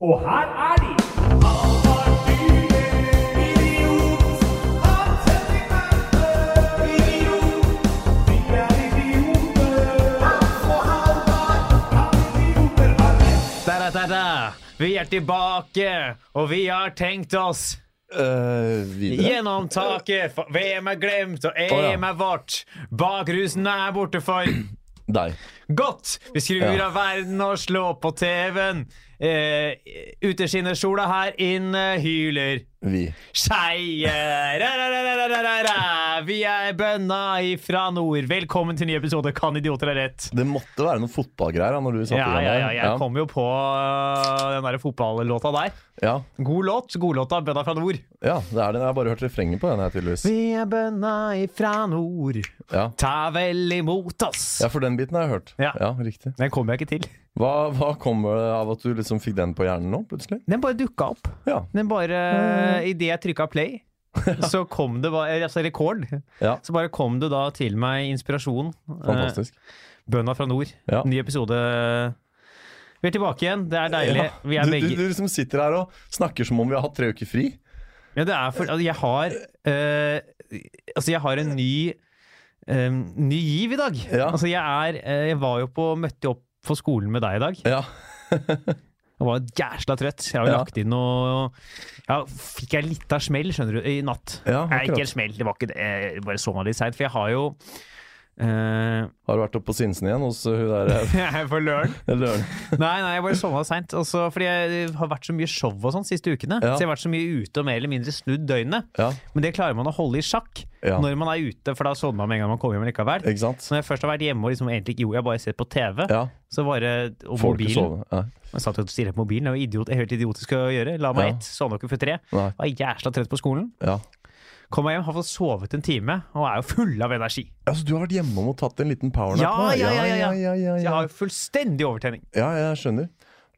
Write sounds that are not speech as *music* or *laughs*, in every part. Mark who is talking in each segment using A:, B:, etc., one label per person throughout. A: Og her er de!
B: Da, da, da, da. Vi er tilbake, og vi har tenkt oss
C: Eh, videre.
B: Gjennom taket, for VM er glemt, og EM
C: Å, ja.
B: er vårt. Bakrusen er borte for
C: Deg.
B: godt. Vi skrur
C: Ja.
B: av verden og slår på TV-en. Eh, Uteskinnersola her, inne hyler
C: Vi.
B: Skeie! Ra-ra-ra-ra-ra-ra-ra. Vi er bønna ifra nord. Velkommen til ny episode Kan idioter ha rett?
C: Det måtte være noen fotballgreier da, når du satte
B: Ja,
C: i
B: ja,
C: gang
B: ja,
C: der.
B: jeg kom jo på øh, den der fotballåta der.
C: ja.
B: God låt. Godlåta 'Bønna fra nord'.
C: ja, det er det. Jeg har bare hørt refrenget på den her, tydeligvis.
B: Vi er bønna ifra nord,
C: Ja.
B: ta vel imot oss.
C: ja, for den biten har jeg hørt.
B: Ja.
C: riktig.
B: Den kom jeg ikke til.
C: Hva, hva kommer det av at du liksom fikk den på hjernen nå, plutselig?
B: Den bare dukka opp.
C: Ja.
B: Den bare Idet jeg trykka play, *laughs* så kom det bare Altså rekord.
C: Ja.
B: Så bare kom det da til meg inspirasjon. Eh,
C: Fantastisk.
B: Bønna fra nord.
C: Ja.
B: Ny episode. Vi er tilbake igjen. Det er deilig.
C: Ja.
B: Vi er
C: du, du,
B: begge
C: du liksom sitter her og snakker som om vi har hatt tre uker fri.
B: Ja, det er for altså, Jeg har eh, Altså, jeg har en ny eh, Ny giv i dag.
C: Ja.
B: Altså, jeg er eh, Jeg var jo på Møtte jo opp på skolen med deg i dag.
C: Ja.
B: Jeg var jæsla trøtt. Jeg har jo
C: Ja.
B: lagt inn noe ja, Fikk jeg litt av smell, skjønner du, i natt.
C: Ja,
B: Nei,
C: akkurat.
B: ikke en smell, det var ikke det. Jeg bare sovna litt seint, for jeg har jo eh, *laughs*
C: Har du vært oppe på Sinsen igjen hos uh, hun der eh,
B: Jeg er for løren.
C: Løren?
B: Nei, nei, jeg bare sovna seint. Fordi jeg har vært så mye show og sånn siste ukene.
C: Ja.
B: Så jeg har vært så mye ute og mer eller mindre snudd døgnet.
C: Ja,
B: Men det klarer man å holde i sjakk
C: Ja.
B: når man er ute, for da sovner man med en gang man kommer hjem likevel.
C: ikke sant?
B: Så når jeg først har vært hjemme og liksom egentlig ikke gjorde jeg bare sett på TV,
C: Ja.
B: så bare Og
C: Får du ikke
B: mobilen.
C: sove? Ja.
B: Jeg satt jo og stirret på mobilen. Det var idiot, helt idiotisk å gjøre. La meg
C: Ja.
B: ett, sovna ikke før tre.
C: Nei.
B: Var jæsla trøtt på skolen.
C: Ja.
B: Kom meg hjem, har fått sovet en time og er jo full av energi.
C: Altså, du har vært hjemom og tatt en liten powernap?
B: Ja,
C: da?
B: ja, ja, ja,
C: ja, ja, ja,
B: Så jeg har jo fullstendig overtenning.
C: Ja, jeg skjønner.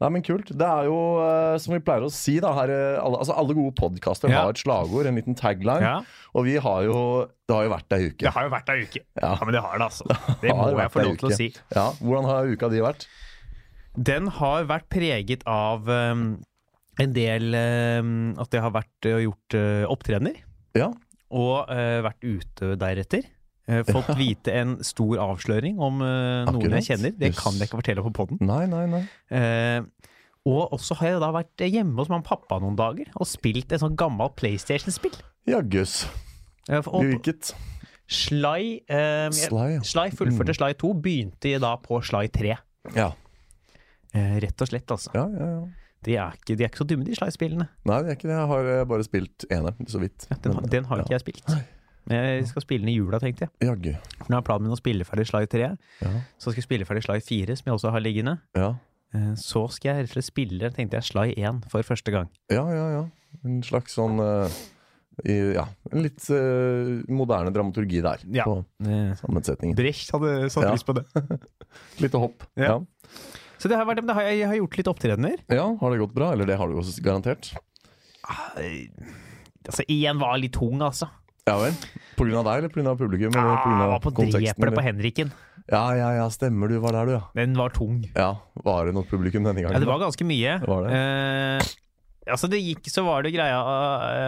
C: Nei, men kult. Det er jo, eh, som vi pleier å si, da, her, eh, alle, altså, alle gode podkaster
B: Ja.
C: har et slagord, en liten tagline.
B: Ja.
C: Og vi har jo Det har jo vært ei uke.
B: Det har jo vært ei uke. Ja. men det har det,
C: *laughs*
B: altså. Det
C: Har
B: må
C: vært
B: jeg få
C: ei
B: lov til å
C: uke.
B: si.
C: Ja, Hvordan har uka di vært?
B: Den har vært preget av um, en del um, At jeg har vært og gjort uh, opptredener,
C: Ja.
B: og uh, vært ute deretter. Uh, fått vite en stor avsløring om uh, noen
C: Akkurat.
B: jeg kjenner. Det
C: Yes.
B: kan jeg ikke fortelle på poden.
C: Nei, nei, nei.
B: Eh, og også har jeg da vært hjemme hos mamma og pappa noen dager og spilt et sånt gammelt PlayStation-spill.
C: Jaggus.
B: Eh, for- og
C: Hvilket?
B: Sly, eh, jeg-
C: Sly, ja. Mm.
B: Sly fullførte Sly 2, begynte jeg da på Sly 3.
C: Ja.
B: Eh, rett og slett, altså.
C: ja, ja, ja.
B: De er ikke, de er ikke så dumme, de Sly-spillene.
C: Nei, det er ikke det. Jeg har eh, bare spilt eneren, så vidt.
B: Den, har- den har ikke jeg spilt. Men Jeg skal spille den i jula, tenkte jeg.
C: Jaggu.
B: For nå er planen min å spille ferdig Sly 3.
C: Ja.
B: Så skal jeg spille ferdig Sly 4, som jeg også har liggende.
C: Ja.
B: Eh, så skal jeg rett og slett spille, tenkte jeg, Sly 1 for første gang.
C: ja, ja, ja. En slags sånn eh, i, Ja, en litt eh, moderne dramaturgi der. På
B: Eh,
C: sammensetningen.
B: Brecht hadde satt
C: Ja.
B: pris på det.
C: Lite hopp.
B: Ja.
C: Ja.
B: Så det har vært, men det har, jeg jeg har gjort litt opptredener.
C: ja, har det gått bra? Eller det har det jo s- garantert.
B: Altså, én var litt tung, altså.
C: Ja vel? På grunn av deg, eller på grunn av publikum? Eller
B: Ah,
C: på grunn av
B: var på
C: konteksten?
B: drepet på
C: eller?
B: Henriken.
C: Ja, ja, ja, stemmer du, var der du, ja.
B: Den var tung.
C: Ja, Var det noe publikum denne gangen?
B: Ja, det var ganske mye.
C: Det var det.
B: Eh, altså, det gikk, så var det greia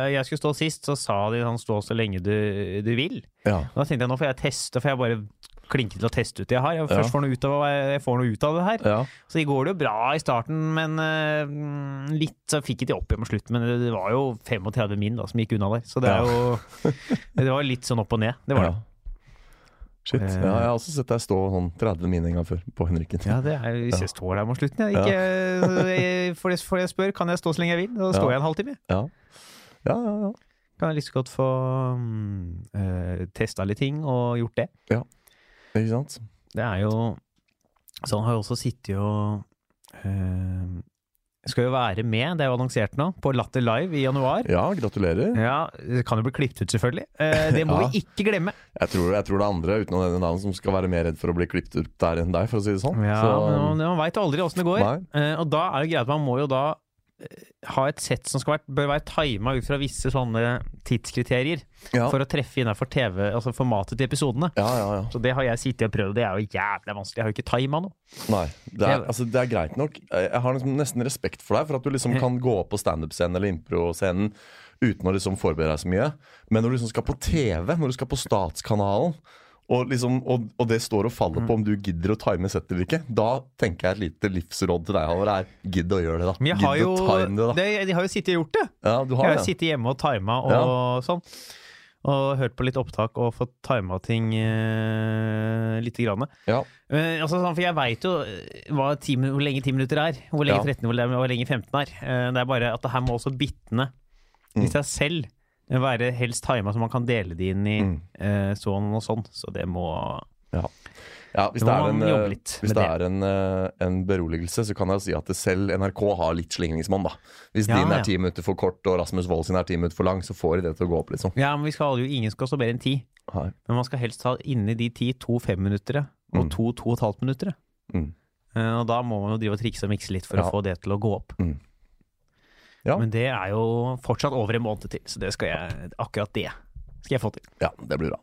B: eh, Jeg skulle stå sist, så sa de sånn stå så lenge du, du vil.
C: Ja,
B: Og Da tenkte jeg nå får jeg teste, for jeg bare klinke til å teste ut det jeg har. Jeg
C: Ja.
B: først får noe ut av, jeg får noe ut av det her.
C: ja.
B: Så går det jo bra i starten, men eh, mm, litt så fikk jeg det opp igjen på slutt. Men det det var jo 35 min da, som gikk unna der, så det, er
C: Ja.
B: jo,
C: *laughs*
B: det var litt sånn opp og ned. Det var
C: ja. Shit.
B: Eh.
C: Ja, jeg har også sett deg stå sånn 30 min en gang før, på Henriken.
B: det. Ja, det er, hvis jeg står der mot slutten jeg, ikke, eh, jeg, for, det, for det jeg spør, kan jeg stå så lenge jeg vil? Da står
C: Ja.
B: jeg en halvtime.
C: Ja, ja, ja. ja.
B: Kan jeg like så godt få mm, eh, testa litt ting og gjort det.
C: Ikke sant?
B: Det er jo Sånn har jeg også sittet og eh, Skal jo være med, det er jo annonsert nå, på Latter Live i januar.
C: Ja, gratulerer.
B: Ja, Det kan jo bli klippet ut, selvfølgelig. Eh, det må
C: Ja.
B: vi ikke glemme.
C: Jeg tror, jeg tror det er andre utenom denne navnet som skal være mer redd for å bli klippet ut der enn deg, for å si det sånn.
B: Ja,
C: Så,
B: men Man, man veit aldri åssen det går.
C: Nei.
B: Eh, og da er det greit at man må jo da ha et sett som skal være, bør være tima ut fra visse sånne tidskriterier
C: Ja,
B: for å treffe innafor TV, altså formatet til episodene.
C: ja, ja. ja.
B: Så det har jeg sittet og prøvd, og det er jo jævlig vanskelig. Jeg har jo ikke tima noe.
C: Nei, det er, altså, det er greit nok. Jeg jeg har liksom nesten respekt for deg for at du liksom kan gå opp på standup-scenen eller impro-scenen uten å liksom forberede deg så mye. Men når du liksom skal på TV, når du skal på Statskanalen, og, liksom, og, og det står og faller
B: Mm.
C: på om du gidder å time settet eller ikke, da tenker jeg et lite livsråd til deg, Halvor, er gidd å gjøre det, da.
B: Men jeg har
C: Gidd
B: jo,
C: å time det, da.
B: det, jeg har jo sittet og gjort det.
C: Ja, du
B: Jeg
C: har
B: har
C: det.
B: sittet hjemme og tima og sånn. Og hørt på litt opptak og fått tima ting eh, lite grann.
C: Ja.
B: Eh, altså, sånn, for jeg veit jo eh, hva ti, min- hvor lenge 10 minutter er, hvor lenge
C: Ja.
B: 13 hvor lenge, hvor lenge 15 er. Eh, det er bare at det her må også bitene i
C: Mm.
B: seg selv være helst tima, så man kan dele de inn i
C: Mm.
B: eh, sånn og sånn. Så det må
C: Ja, hvis
B: Da
C: det,
B: må
C: er en,
B: man jobbe
C: eh,
B: litt
C: hvis
B: med
C: det
B: det.
C: er en, eh, en beroligelse, så kan jeg jo si at det selv NRK har litt slingringsmonn, da. Hvis
B: Ja,
C: din
B: ja.
C: er ti minutter for kort og Rasmus Wold sin er ti minutter for lang, så får de det til å gå opp litt sånn.
B: Ja, men vi skal jo ingen skal stå mer enn ti.
C: Her.
B: Men man skal helst ha inni de ti to femminuttere og
C: Mm.
B: to to og et halvt minuttere.
C: Mm.
B: Eh, og da må man jo drive og trikse og mikse litt for
C: Ja.
B: å få det til å gå opp.
C: Mm. Ja.
B: Men det er jo fortsatt over en måned til, så det skal jeg, akkurat det skal jeg få til.
C: Ja, det blir bra.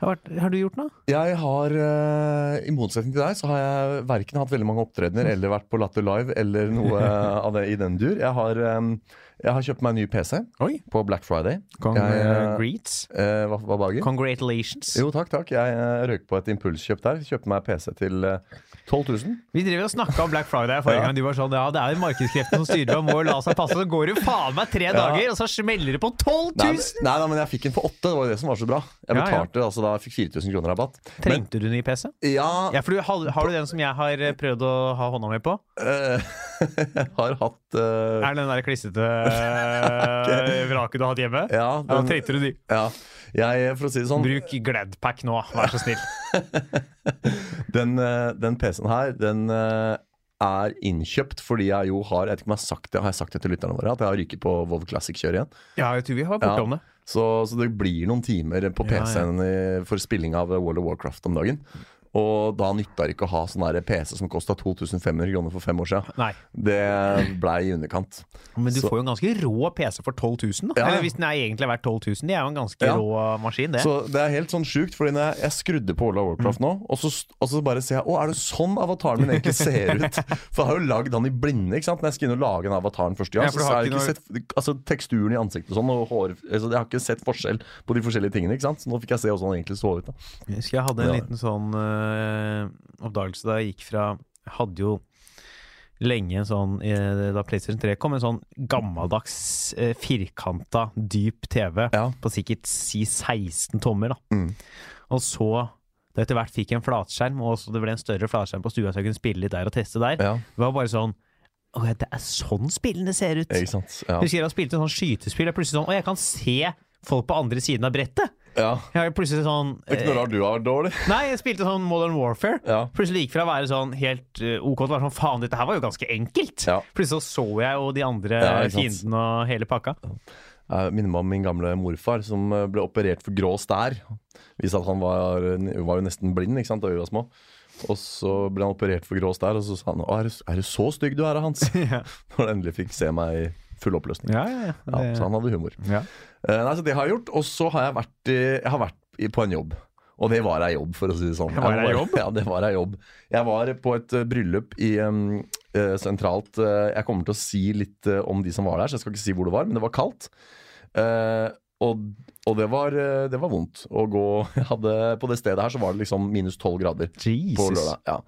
B: Har, vært, har du gjort noe?
C: Jeg har, eh, i motsetning til deg, så har jeg verken hatt veldig mange opptredener eller vært på Latter Live eller noe eh, av det i den dur. Jeg har, eh, jeg har kjøpt meg en ny PC
B: Oi.
C: på Black Friday.
B: Kong,
C: Jeg,
B: eh,
C: eh,
B: greets?
C: Eh, hva, hva bager?
B: Congratulations.
C: Jo, takk, takk. Jeg eh, røyk på et impulskjøp der. Kjøpte meg PC til eh, 12 000.
B: Vi drev og snakka om Black Friday forrige
C: Ja.
B: gang. Du var sånn Ja, det er jo markedskreftene som styrer, man må jo la seg passe. Så går det faen meg tre dager, og så smeller det på 12 000!
C: Nei, men- nei, nei, men jeg fikk en for åtte. Det var jo det som var så bra.
B: Ja,
C: Jeg
B: ja.
C: betalte altså da jeg fikk 4000 kroner rabatt. Men
B: Trengte du ny PC?
C: ja,
B: Ja, for du, har, har du den som jeg har eh, prøvd å ha hånda mi på?
C: eh, *laughs* jeg har hatt eh,
B: Er det den der *laughs* klissete eh, vraket du har hatt hjemme?
C: ja,
B: Ja,
C: den,
B: trengte du ny?
C: ja, jeg, For å si det sånn,
B: Bruk Gladpack nå, vær så snill.
C: den, eh, den PC-en her, den eh, er innkjøpt fordi jeg jo har Jeg vet ikke om jeg har sagt det, har jeg sagt det til lytterne våre, at jeg har ryket på Vov Classic-kjøret igjen.
B: *laughs* Ja, jeg tror vi har vært
C: Ja.
B: borte om det.
C: Så, så det blir noen timer på
B: Ja, ja.
C: PC-en i- for spilling av World of Warcraft om dagen. Og da nytta det ikke å ha sånn der PC som kosta 2500 kroner for fem år siden.
B: Nei.
C: Det blei i underkant.
B: Men du
C: Så-
B: får jo en ganske rå PC for 12 000. Da.
C: Ja.
B: Eller hvis den er egentlig er verdt 12 000. Det er jo en ganske
C: Ja.
B: rå maskin, det. Mm.
C: Så det er helt sånn sjukt, fordi når jeg, jeg skrudde på World of Warcraft nå, og så, og så bare ser jeg Å, er det sånn avataren min egentlig
B: *laughs*
C: ser ut? For jeg har jo lagd han i blinde, ikke sant? Når jeg skal inn og lage den avataren første
B: Ja,
C: gang.
B: for du
C: så
B: har
C: har jeg
B: ikke
C: ikke sett altså, teksturen i ansiktet og sånn, og hår altså, Jeg har ikke sett forskjell på de forskjellige tingene, ikke sant? Så nå fikk jeg se hvordan han egentlig så ut, da.
B: Jeg husker jeg hadde en
C: Ja.
B: liten sånn eh, oppdagelse da jeg gikk fra Jeg hadde jo lenge en sånn eh, Da PlayStation 3 kom, en sånn gammeldags uh, firkanta, dyp TV
C: Ja.
B: på sikkert si 16 tommer, da.
C: Mm.
B: Og så da jeg etter hvert fikk en flatskjerm, og også det ble en større flatskjerm på stua, så jeg kunne spille litt der og teste der.
C: Ja,
B: Det var bare sånn Å, det er sånn spillene ser ut!
C: ikke sant? Ja.
B: Husker jeg da spilte en sånn skytespill, og plutselig sånn Å, jeg kan se folk på andre siden av brettet!
C: ja.
B: Jeg har jo plutselig sånn
C: Det er ikke noe rart du har vært dårlig.
B: Nei, jeg spilte sånn Modern Warfare.
C: Ja.
B: Plutselig gikk fra å være sånn helt eh, OK til å være sånn faen, dette her var jo ganske enkelt.
C: Ja.
B: Plutselig så så jeg jo de andre
C: Ja, ikke sant.
B: fiendene og hele pakka.
C: Jeg minner meg om min gamle morfar som eh, ble operert for grå stær. Viste at han var, var jo nesten blind ikke sant, da vi var små. Og så ble han operert for grå stær, og så sa han Å, er, du, 'Er du så stygg du er, *laughs* Hans?'
B: ja,
C: Når han endelig fikk se meg i full oppløsning.
B: ja, ja.
C: Ja, sånn. så han hadde humor. Eh, nei, så det har jeg gjort. Og så har jeg vært, i, jeg har vært i, på en jobb. Og det var ei jobb, for å si det sånn.
B: Det var ei
C: Jeg var- *laughs* Ja, det var ei jobb. Jeg var på et eh, bryllup i em, eh, sentralt eh, Jeg kommer til å si litt eh, om de som var der, så jeg skal ikke si hvor det var, men det var kaldt. Eh, og og det, var, eh, det var vondt å gå *laughs* jeg hadde, På det stedet her så var det liksom minus tolv grader på
B: Jesus.
C: lørdag. Ja.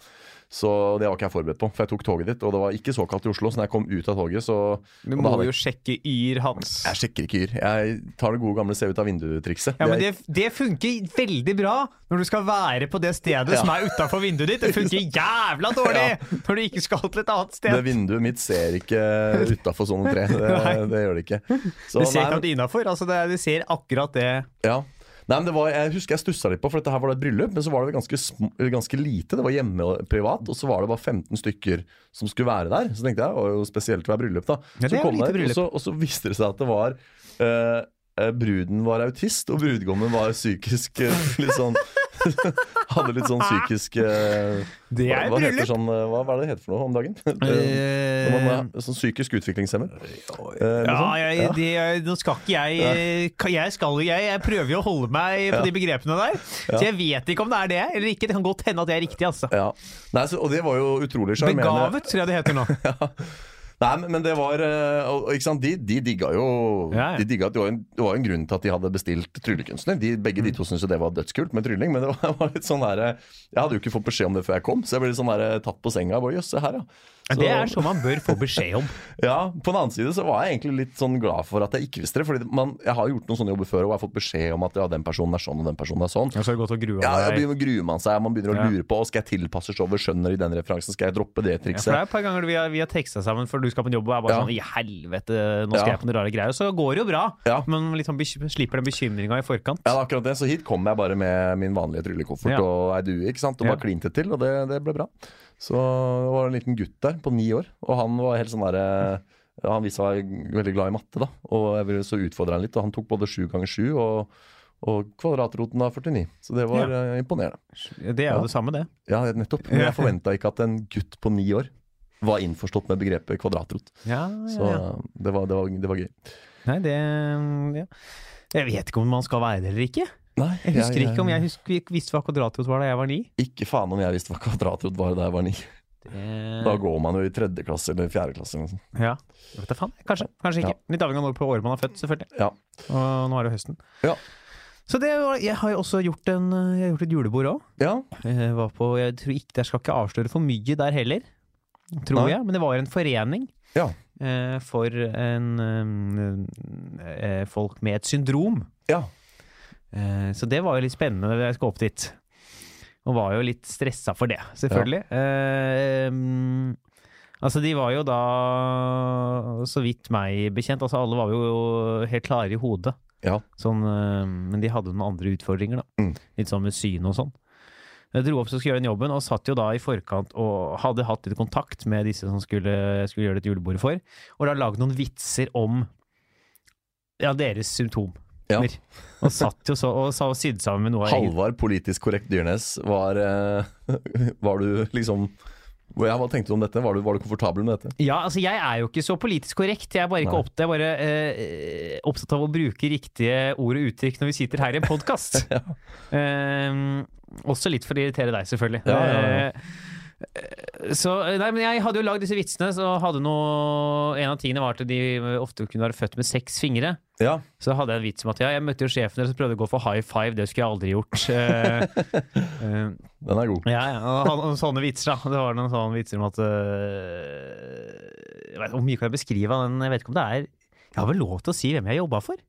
C: Så det var ikke jeg forberedt på, for jeg tok toget dit, og det var ikke så kaldt i Oslo. Så når jeg kom ut av toget, så
B: Du
C: og da
B: må
C: hadde jeg-
B: jo sjekke Yr, Hans.
C: jeg sjekker ikke yr. Jeg tar det gode gamle se ut av vinduet-trikset.
B: Ja, men det, det funker veldig bra når du skal være på det stedet som er utafor vinduet ditt. Det
C: *laughs*
B: funker jævla dårlig når du ikke skal til et annet
C: det
B: sted.
C: vinduet mitt ser
B: *laughs*
C: ikke utafor sone tre. Det,
B: Nei.
C: det gjør det ikke. Så,
B: Du ser
C: nei,
B: ikke at
C: men-
B: det er innafor. Altså, det- du ser akkurat det
C: ja. Nei, men det var, jeg husker jeg stussa litt på, for dette her var det et bryllup, men så var det ganske, sm- eller ganske lite. Det var hjemme og privat, og så var det bare 15 stykker som skulle være der. Så tenkte jeg, det var jo spesielt å være bryllup, da.
B: Ja, det
C: så
B: er jo lite
C: jeg,
B: bryllup.
C: og så, og så viste det seg at det var eh, eh, Bruden var autist, og brudgommen var psykisk eh, litt sånn *laughs* Hadde litt sånn psykisk eh,
B: Det
C: hva,
B: er
C: hva, heter
B: bryllup!
C: sånn, eh, hva, hva er det det heter for noe om dagen? Det-
B: Eh,
C: Når man er sånn psykisk utviklingshemmet. Eh, noe
B: Ja,
C: sånt?
B: jeg,
C: Ja.
B: det, jeg, nå skal ikke jeg eh, ka- Jeg skal jo jeg, jeg prøver jo å holde meg på de begrepene der. Så jeg vet ikke om det er det eller ikke. Det kan godt hende at det er riktig. altså
C: Ja. Nei, så, og det var jo utrolig sjarmerende.
B: Begavet, tror jeg det
C: *laughs*
B: heter nå.
C: Nei, men, men det var eh, og- og ikke sant? De, de digga jo
B: Ja, ja.
C: De digga at det var, en, det var en grunn til at de hadde bestilt tryllekunstner. De, begge
B: Mm.
C: de to syntes jo det var dødskult med trylling, men det var, *laughs* var litt sånn der, eh, jeg hadde jo ikke fått beskjed om det før jeg kom, så jeg ble litt sånn der, eh, tatt på senga. Jeg bare, Jøss, se her, ja. Så-
B: Det er sånn man bør få beskjed om.
C: Ja, På den annen side så var jeg egentlig litt sånn glad for at jeg ikke visste det. Fordi man, jeg har gjort noen sånne jobber før og jeg har fått beskjed om at ja, den personen er sånn og den personen er sånn.
B: Ja, så er det godt å grue
C: Ja,
B: av
C: jeg
B: deg.
C: begynner, Gruer man seg, man begynner
B: Ja.
C: å lure på skal jeg tilpasse showet, skjønner de den referansen, skal jeg droppe det
B: Ja, for det
C: trikset?
B: er et par ganger vi har, vi har teksta sammen før du skal på en jobb og er bare
C: Ja.
B: sånn I helvete, nå skal
C: Ja.
B: jeg på noen rare greier. Så går det jo bra,
C: Ja.
B: men liksom beky- slipper den bekymringa i forkant.
C: Ja, det er akkurat det, Så hit kom jeg bare med min vanlige
B: Ja.
C: tryllekoffert og ei due. ikke sant? Og
B: Ja.
C: bare klinte til, og det, det ble bra. Så det var en liten gutt der på ni år, og han var helt sånn derre Han viste seg veldig glad i matte, da. Og jeg ville så utfordre han litt, og han tok både sju ganger sju og, og kvadratroten av 49. Så det var eh, imponerende.
B: Det er jo
C: Ja.
B: det samme, det.
C: Ja, nettopp. Men jeg forventa ikke at en gutt på ni år var innforstått med begrepet kvadratrot.
B: Ja,
C: Så
B: ja, ja.
C: eh, det var, det var, det var gøy.
B: Nei, det mm, ja. Jeg vet ikke om man skal være det eller ikke.
C: Nei,
B: Jeg husker ikke om jeg husker, visste hva kvadratrot var da jeg var ni.
C: Ikke faen om jeg visste hva kvadratrot var da jeg var ni. Da
B: Det,
C: går man jo i tredje klasse eller fjerde klasse. Eller noe sånt.
B: ja. Jeg vet da faen. Kanskje, kanskje ikke. Litt avhengig av når på året man er født, selvfølgelig.
C: Ja.
B: Og nå er det jo høsten.
C: Ja.
B: Så det var, jeg har jo også gjort, en, jeg har gjort et julebord òg.
C: ja.
B: Jeg var på, jeg tror ikke, jeg skal ikke avsløre for mye der heller, tror
C: Nei.
B: jeg. Men det var en forening
C: Ja.
B: eh, for en, eh, eh, folk med et syndrom.
C: Ja.
B: Eh, så det var jo litt spennende da jeg skulle opp dit. Og var jo litt stressa for det, selvfølgelig. Eh, mm, altså, de var jo da, så vidt meg bekjent, altså alle var jo helt klare i hodet.
C: Ja.
B: Sånn, eh, men de hadde noen andre utfordringer, da.
C: Mm.
B: Litt sånn med syn og sånn. Jeg dro opp så skulle gjøre den jobben, og satt jo da i forkant og hadde hatt litt kontakt med disse som skulle, jeg skulle gjøre dette julebordet for, og da lagd noen vitser om ja, deres symptomer.
C: Ja.
B: Og satt jo så og, sa- og sydde sammen med noe av eget.
C: Halvard politisk korrekt Dyrnes, var, eh, *laughs* var du liksom ja, Hva tenkte du om dette? Var du, var du komfortabel med dette?
B: Ja, altså jeg er jo ikke så politisk korrekt. Jeg er bare, ikke
C: Nei.
B: opp, jeg er bare eh, opptatt av å bruke riktige ord og uttrykk når vi sitter her i en
C: *laughs*
B: podkast. også litt for å irritere deg, selvfølgelig.
C: Ja, ja, ja.
B: Eh, så, nei, men jeg hadde jo lagd disse vitsene, så hadde noe En av tingene var at de ofte kunne være født med seks fingre.
C: Ja.
B: Så hadde jeg en vits om at ja, jeg møtte jo sjefen deres og prøvde å gå for high five. Det skulle jeg aldri gjort. Eh,
C: *laughs*
B: eh,
C: Den er god.
B: ja, ja, og han- og sånne vitser, da. Det var noen sånne vitser om at øh, jeg vet, Hvor mye kan jeg beskrive av den? Jeg vet ikke om det er Jeg har vel lov til å si hvem jeg jobba for?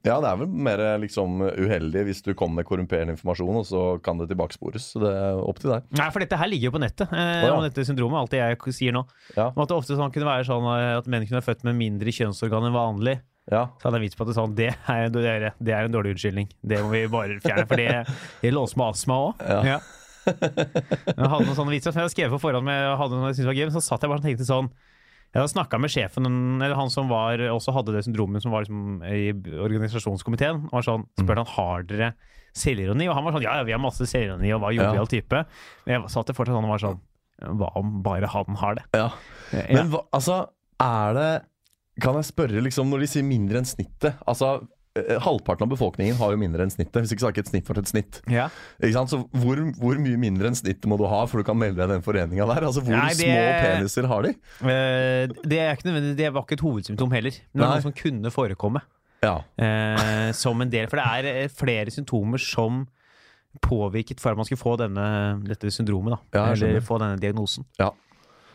C: Ja, det er vel mer eh, liksom uheldig hvis du kommer med korrumperende informasjon, og så kan det tilbakespores. Så det er opp til deg.
B: Nei, for dette her ligger jo på nettet. Eh,
C: Å, ja.
B: Om dette syndromet, alt det jeg k- sier nå.
C: Ja.
B: Om at det ofte sånn kunne være sånn eh, at menn kunne være født med mindre kjønnsorgan enn vanlig.
C: Ja.
B: Så hadde jeg en vits på at det, er sånn, det, er, en dårlig- det er en dårlig unnskyldning. Det må vi bare fjerne. For det gjelder oss med astma òg.
C: Ja.
B: Jeg hadde noen sånne vitser som jeg hadde skrevet på forhånd, med, hadde noen jeg syntes var gøy, men så satt jeg bare og tenkte sånn Jeg hadde snakka med sjefen, eller han som var, også hadde det syndromet, som var liksom i organisasjonskomiteen. og var
C: Mm.
B: sånn, spurte han har dere selvironi, og han var sånn ja, ja, vi har masse selvironi, og hva
C: Ja.
B: jovial type. Men jeg satt der fortsatt sånn og var sånn Hva om bare han har det?
C: Ja.
B: Ja.
C: Men hva, altså, er det Kan jeg spørre, liksom, når de sier mindre enn snittet Altså, eh, halvparten av befolkningen har jo mindre enn snittet. Hvis ikke så har ikke et snitt for et snitt.
B: ja.
C: Ikke sant? Så hvor, hvor mye mindre enn snittet må du ha for du kan melde deg i den foreninga der? Altså, Hvor
B: Nei, det-
C: små peniser har de?
B: Eh, Det, er ikke nødvendig, det var ikke et hovedsymptom heller, men det var
C: Nei.
B: noe som kunne forekomme.
C: Ja,
B: eh, som en del. For det er eh, flere symptomer som påvirket for at man skulle få denne, dette syndromet. Da,
C: Ja, jeg
B: eller
C: skjønner.
B: få denne diagnosen.
C: ja.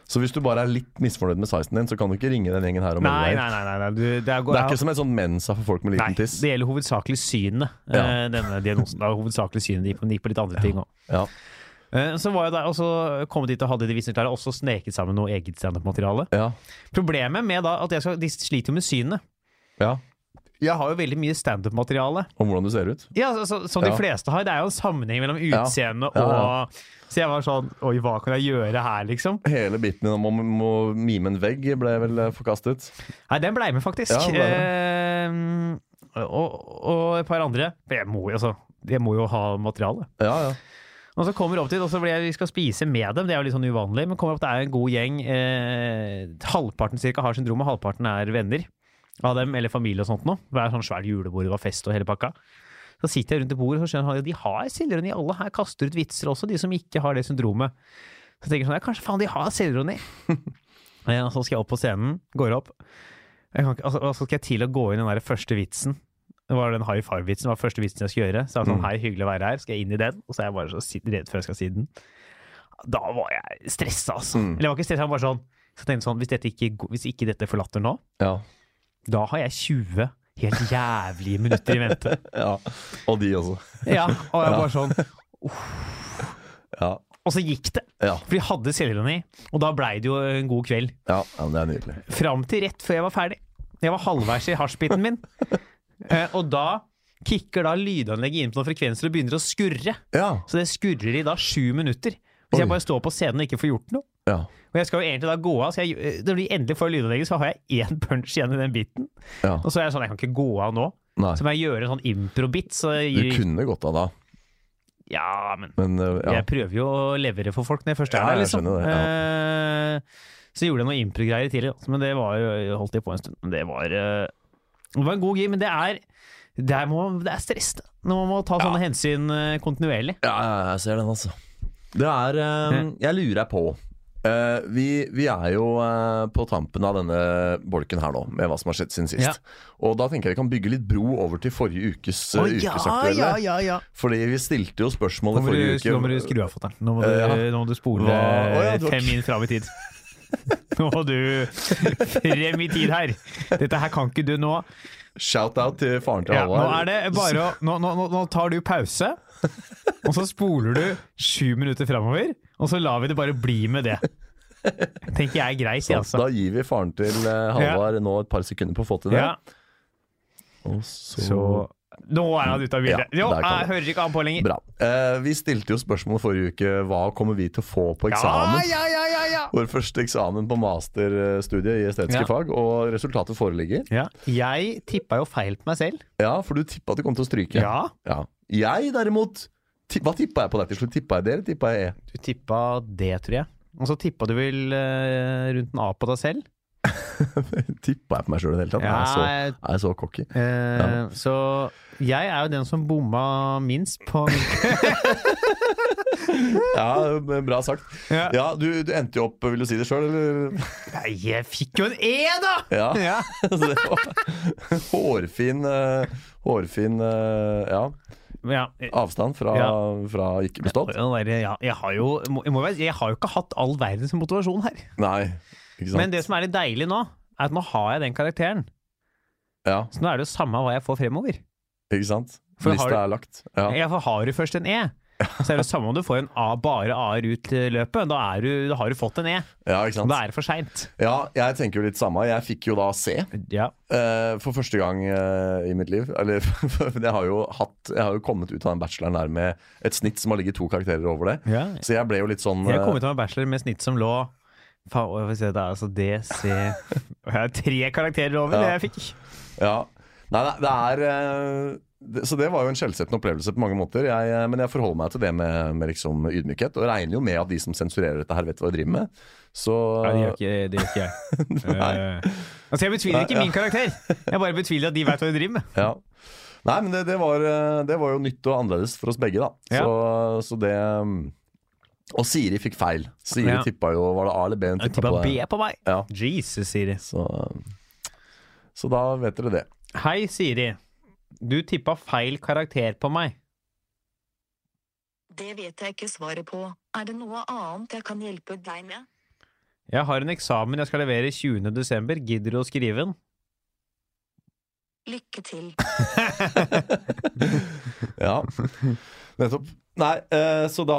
C: Så hvis du bare er litt misfornøyd med sizen din, så kan du ikke ringe den gjengen her og melde
B: Nei,
C: deg
B: nei,
C: inn?
B: nei. nei, nei. Du, det, er,
C: Det er ikke som en sånn mensa for folk med
B: Nei,
C: liten tiss?
B: det gjelder hovedsakelig synet, eh,
C: Ja.
B: denne diagnosen. Det er hovedsakelig synet, det gikk på- det gikk på litt andre ting òg.
C: Ja.
B: Så var jeg der, og så kom jeg dit og hadde de visene klare, og så sneket sammen noe eget standup-materiale.
C: Ja.
B: Problemet med da at jeg skal, de sliter jo med synet.
C: ja.
B: Jeg har jo veldig mye standup-materiale.
C: Om hvordan du ser ut?
B: Ja, så, så, som
C: Ja.
B: de fleste har. Det er jo en sammenheng mellom utseende
C: Ja, ja.
B: og Så jeg var sånn Oi, hva kan jeg gjøre her, liksom?
C: Hele biten om å må mime en vegg ble vel eh, forkastet?
B: Nei, den blei med, faktisk. Ehm,
C: Ja, den ble
B: Eh, og, og et par andre. For Jeg må jo, altså. jeg må jo ha materiale.
C: Ja, ja.
B: Og så kommer opp dit, og så blir jeg, vi skal spise med dem, det er jo litt sånn uvanlig, men kommer opp, det er en god gjeng. Eh, halvparten cirka har syndromet, halvparten er venner av dem, eller familie og sånt noe. Det er sånn svært julebord, det var fest og hele pakka. Så sitter jeg rundt i bordet, så skjønner jeg at de har selgerne i alle her, kaster ut vitser også, de som ikke har det syndromet. Så tenker jeg sånn, ja, kanskje faen de har *laughs* selgerne i. Eh, og så skal jeg opp på scenen, går opp. Jeg kan ikke, altså, og så skal jeg til å gå inn i den der første vitsen. Det var den high five-vitsen, det var første vitsen jeg skulle gjøre. Så jeg var sånn, hei, hyggelig å være her, skal jeg inn i den? Og så er jeg bare så si- redd før jeg skal si den. Da var jeg stressa, altså.
C: Mm.
B: Eller jeg var ikke stressa, jeg var bare sånn. Så jeg tenkte sånn, hvis, dette ikke, går- hvis ikke dette forlater nå,
C: ja.
B: da har jeg 20 helt jævlige minutter i vente.
C: ja. Og de også.
B: Ja, og jeg bare sånn.
C: Ja.
B: Og så gikk det.
C: Ja.
B: For de hadde selvironi, og da blei det jo en god kveld.
C: Ja, ja, men det er nydelig.
B: Fram til rett før jeg var ferdig. Jeg var halvveis i hasjbiten min. Eh, og da kicker da lydanlegget inn på noen frekvenser og begynner å skurre.
C: Ja.
B: Så det skurrer i da sju minutter. Hvis
C: Oi.
B: jeg bare står på scenen og ikke får gjort noe.
C: ja.
B: Og jeg skal jo egentlig da gå av, så jeg, eh, når de endelig får lydanlegget, så har jeg én punch igjen i den biten.
C: ja.
B: Og så er jeg sånn, jeg kan ikke gå av nå.
C: Nei.
B: Så må jeg gjøre en sånn impro-bit. Så
C: Du
B: jeg,
C: kunne gått av da,
B: ja, men
C: men uh, ja.
B: jeg prøver jo å levere for folk når jeg først er
C: Ja,
B: der,
C: jeg
B: liksom.
C: skjønner det,
B: Eh, så gjorde jeg noe impro-greier tidlig, altså, men det var jo holdt jeg på en stund. Men det var, eh, det var en god gir, men det er, det er, må, det er stressende. Når man må ta sånne hensyn eh, kontinuerlig.
C: Ja, ja, jeg ser den, altså. Det er eh, Jeg lurer på. Eh, vi, vi er jo eh, på tampen av denne bolken her nå, med hva som har skjedd siden sist.
B: Ja.
C: Og da tenker jeg vi kan bygge litt bro over til forrige ukes eh,
B: Å, ja,
C: ukesaktuelle.
B: ja, ja, ja.
C: Fordi vi stilte jo spørsmålet
B: Nå må,
C: forrige
B: du,
C: uke.
B: nå må du skru av fatter'n. Nå, må du-
C: Eh,
B: nå må du spole
C: Hva- Å, ja, du har
B: fem
C: ikke-
B: inn fram i
C: *laughs*
B: tid. Nå må du frem i tid her! Dette her kan ikke du nå.
C: Shout-out til faren til
B: Ja, nå
C: Halvard.
B: er det bare å nå, nå, nå- nå tar du pause, og så spoler du sju minutter framover, og så lar vi det bare bli med det. Tenker jeg er greit, jeg, altså.
C: Sånn, Da gir vi faren til eh, Halvard nå et par sekunder på å få til det.
B: Ja,
C: Og så,
B: så Nå er han ute av bildet.
C: Ja,
B: Jo,
C: der kom
B: jeg hører ikke an på lenger.
C: Bra. Eh, vi stilte jo spørsmålet forrige uke hva kommer vi til å få på
B: Ja,
C: eksamen.
B: ja, ja, ja, ja.
C: Vår første eksamen på masterstudiet i estetiske
B: Ja.
C: fag, og resultatet foreligger.
B: ja. Jeg tippa jo feil på meg selv.
C: Ja, for du tippa at du kom til å stryke.
B: Ja.
C: Ja. Jeg derimot ti- Hva tippa jeg på deg til slutt? Tippa jeg D, eller tippa *laughs* jeg E?
B: Du tippa det, tror jeg. Og så tippa du vel eh, rundt en A på deg selv.
C: tippa jeg på meg sjøl i det hele tatt?
B: Ja,
C: Jeg er så, jeg er så cocky.
B: Eh, Så jeg er jo den som bomma minst på
C: Ja, men bra sagt.
B: Ja.
C: Ja, du, du endte jo opp Vil du si det sjøl, eller?
B: *laughs* Nei, jeg fikk jo en E, da!
C: *laughs* Ja.
B: Ja.
C: Så det var hårfin eh, Hårfin eh, ja,
B: *laughs* Ja. eh,
C: avstand fra, fra ikke bestått.
B: Den der- ja, Jeg har jo må- jeg, må, være- jeg har jo ikke hatt all verdens motivasjon her.
C: Nei, ikke sant.
B: Men det som er litt deilig nå, er at nå har jeg den karakteren.
C: ja,
B: Så nå er det jo samme hva jeg får fremover.
C: ikke sant?
B: For har du-
C: Lista er lagt. Ja.
B: Jeg får, har du først en E, så er det samme om du får en A, bare A-er ut i løpet. Da, er du, da har du fått en E,
C: ja,
B: og
C: ikke sant.
B: da er det for seint.
C: Ja, jeg tenker jo litt samme. Jeg fikk jo da C
B: Ja.
C: eh, for første gang eh, i mitt liv. Eller *laughs* jeg har jo hatt Jeg har jo kommet ut av den bacheloren der med et snitt som har ligget to karakterer over det.
B: Ja.
C: Så jeg ble jo litt sånn
B: Jeg
C: eh,
B: kom ut av en bachelor med snitt som lå Faen, hva får jeg si, det er altså D, C Og *laughs* Jeg har tre karakterer over
C: Ja.
B: det jeg fikk.
C: eh, ja. Nei, nei, det er eh, det- så det var jo en skjellsettende opplevelse på mange måter. Jeg, eh, men jeg forholder meg til det med, med liksom ydmykhet, og regner jo med at de som sensurerer dette her, vet hva de driver med. Så
B: Nei, det gjør ikke, det gjør
C: *laughs*
B: ikke jeg.
C: Nei.
B: Eh, altså, jeg betviler ikke
C: Nei, ja.
B: min karakter. Jeg bare betviler at de veit hva de driver med.
C: ja. Nei, men det, det, var, eh, det var jo nytt og annerledes for oss begge, da.
B: Ja.
C: Så, så det mm. Og Siri fikk feil. Siri
B: Ja.
C: tippa jo Var det A eller B hun
B: Jeg
C: tippa
B: tippa
C: på?
B: B
C: det?
B: på meg.
C: Ja.
B: Jesus, Siri.
C: Så, så da vet dere det.
B: Hei, Siri. Du tippa feil karakter på meg.
A: Det vet jeg ikke svaret på. Er det noe annet jeg kan hjelpe deg med?
B: Jeg har en eksamen jeg skal levere 20. desember. Gidder du å skrive den?
A: Lykke til.
B: *laughs*
C: Ja, nettopp. Nei, eh, så da,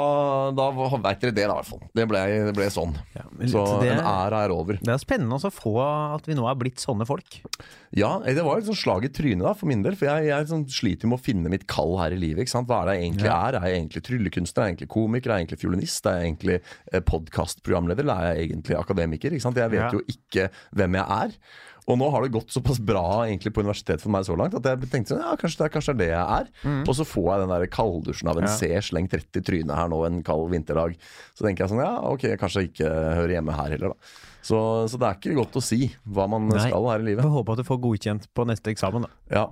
C: da veit dere det, da, i hvert fall. Det ble, det ble sånn.
B: Ja, men
C: så
B: det-
C: en æra er over.
B: Det er spennende også å få at vi nå er blitt sånne folk.
C: Ja, eh, det var et sånn slag i trynet da, for min del. For jeg, jeg sånn, sliter med å finne mitt kall her i livet. ikke sant? Hva er det jeg egentlig er? Er jeg egentlig tryllekunstner? Er jeg egentlig komiker? Er jeg egentlig fiolinist? Er jeg egentlig eh, podkastprogramleder? Eller er jeg egentlig akademiker? ikke sant? Jeg vet
B: Ja.
C: jo ikke hvem jeg er. Og nå har det gått såpass bra egentlig på universitetet for meg så langt at jeg tenkte sånn, ja, kanskje det, er- kanskje det er det jeg er. Og så får jeg den der kalddusjen av en
B: Mm. Ja.
C: C slengt rett i trynet her nå en kald vinterdag. Så tenker jeg sånn, ja, ok, kanskje jeg ikke hører hjemme her heller, da. Så, så det er ikke godt å si hva man
B: Nei.
C: skal her i livet.
B: Får håpe at du får godkjent på neste eksamen. Da.
C: Ja.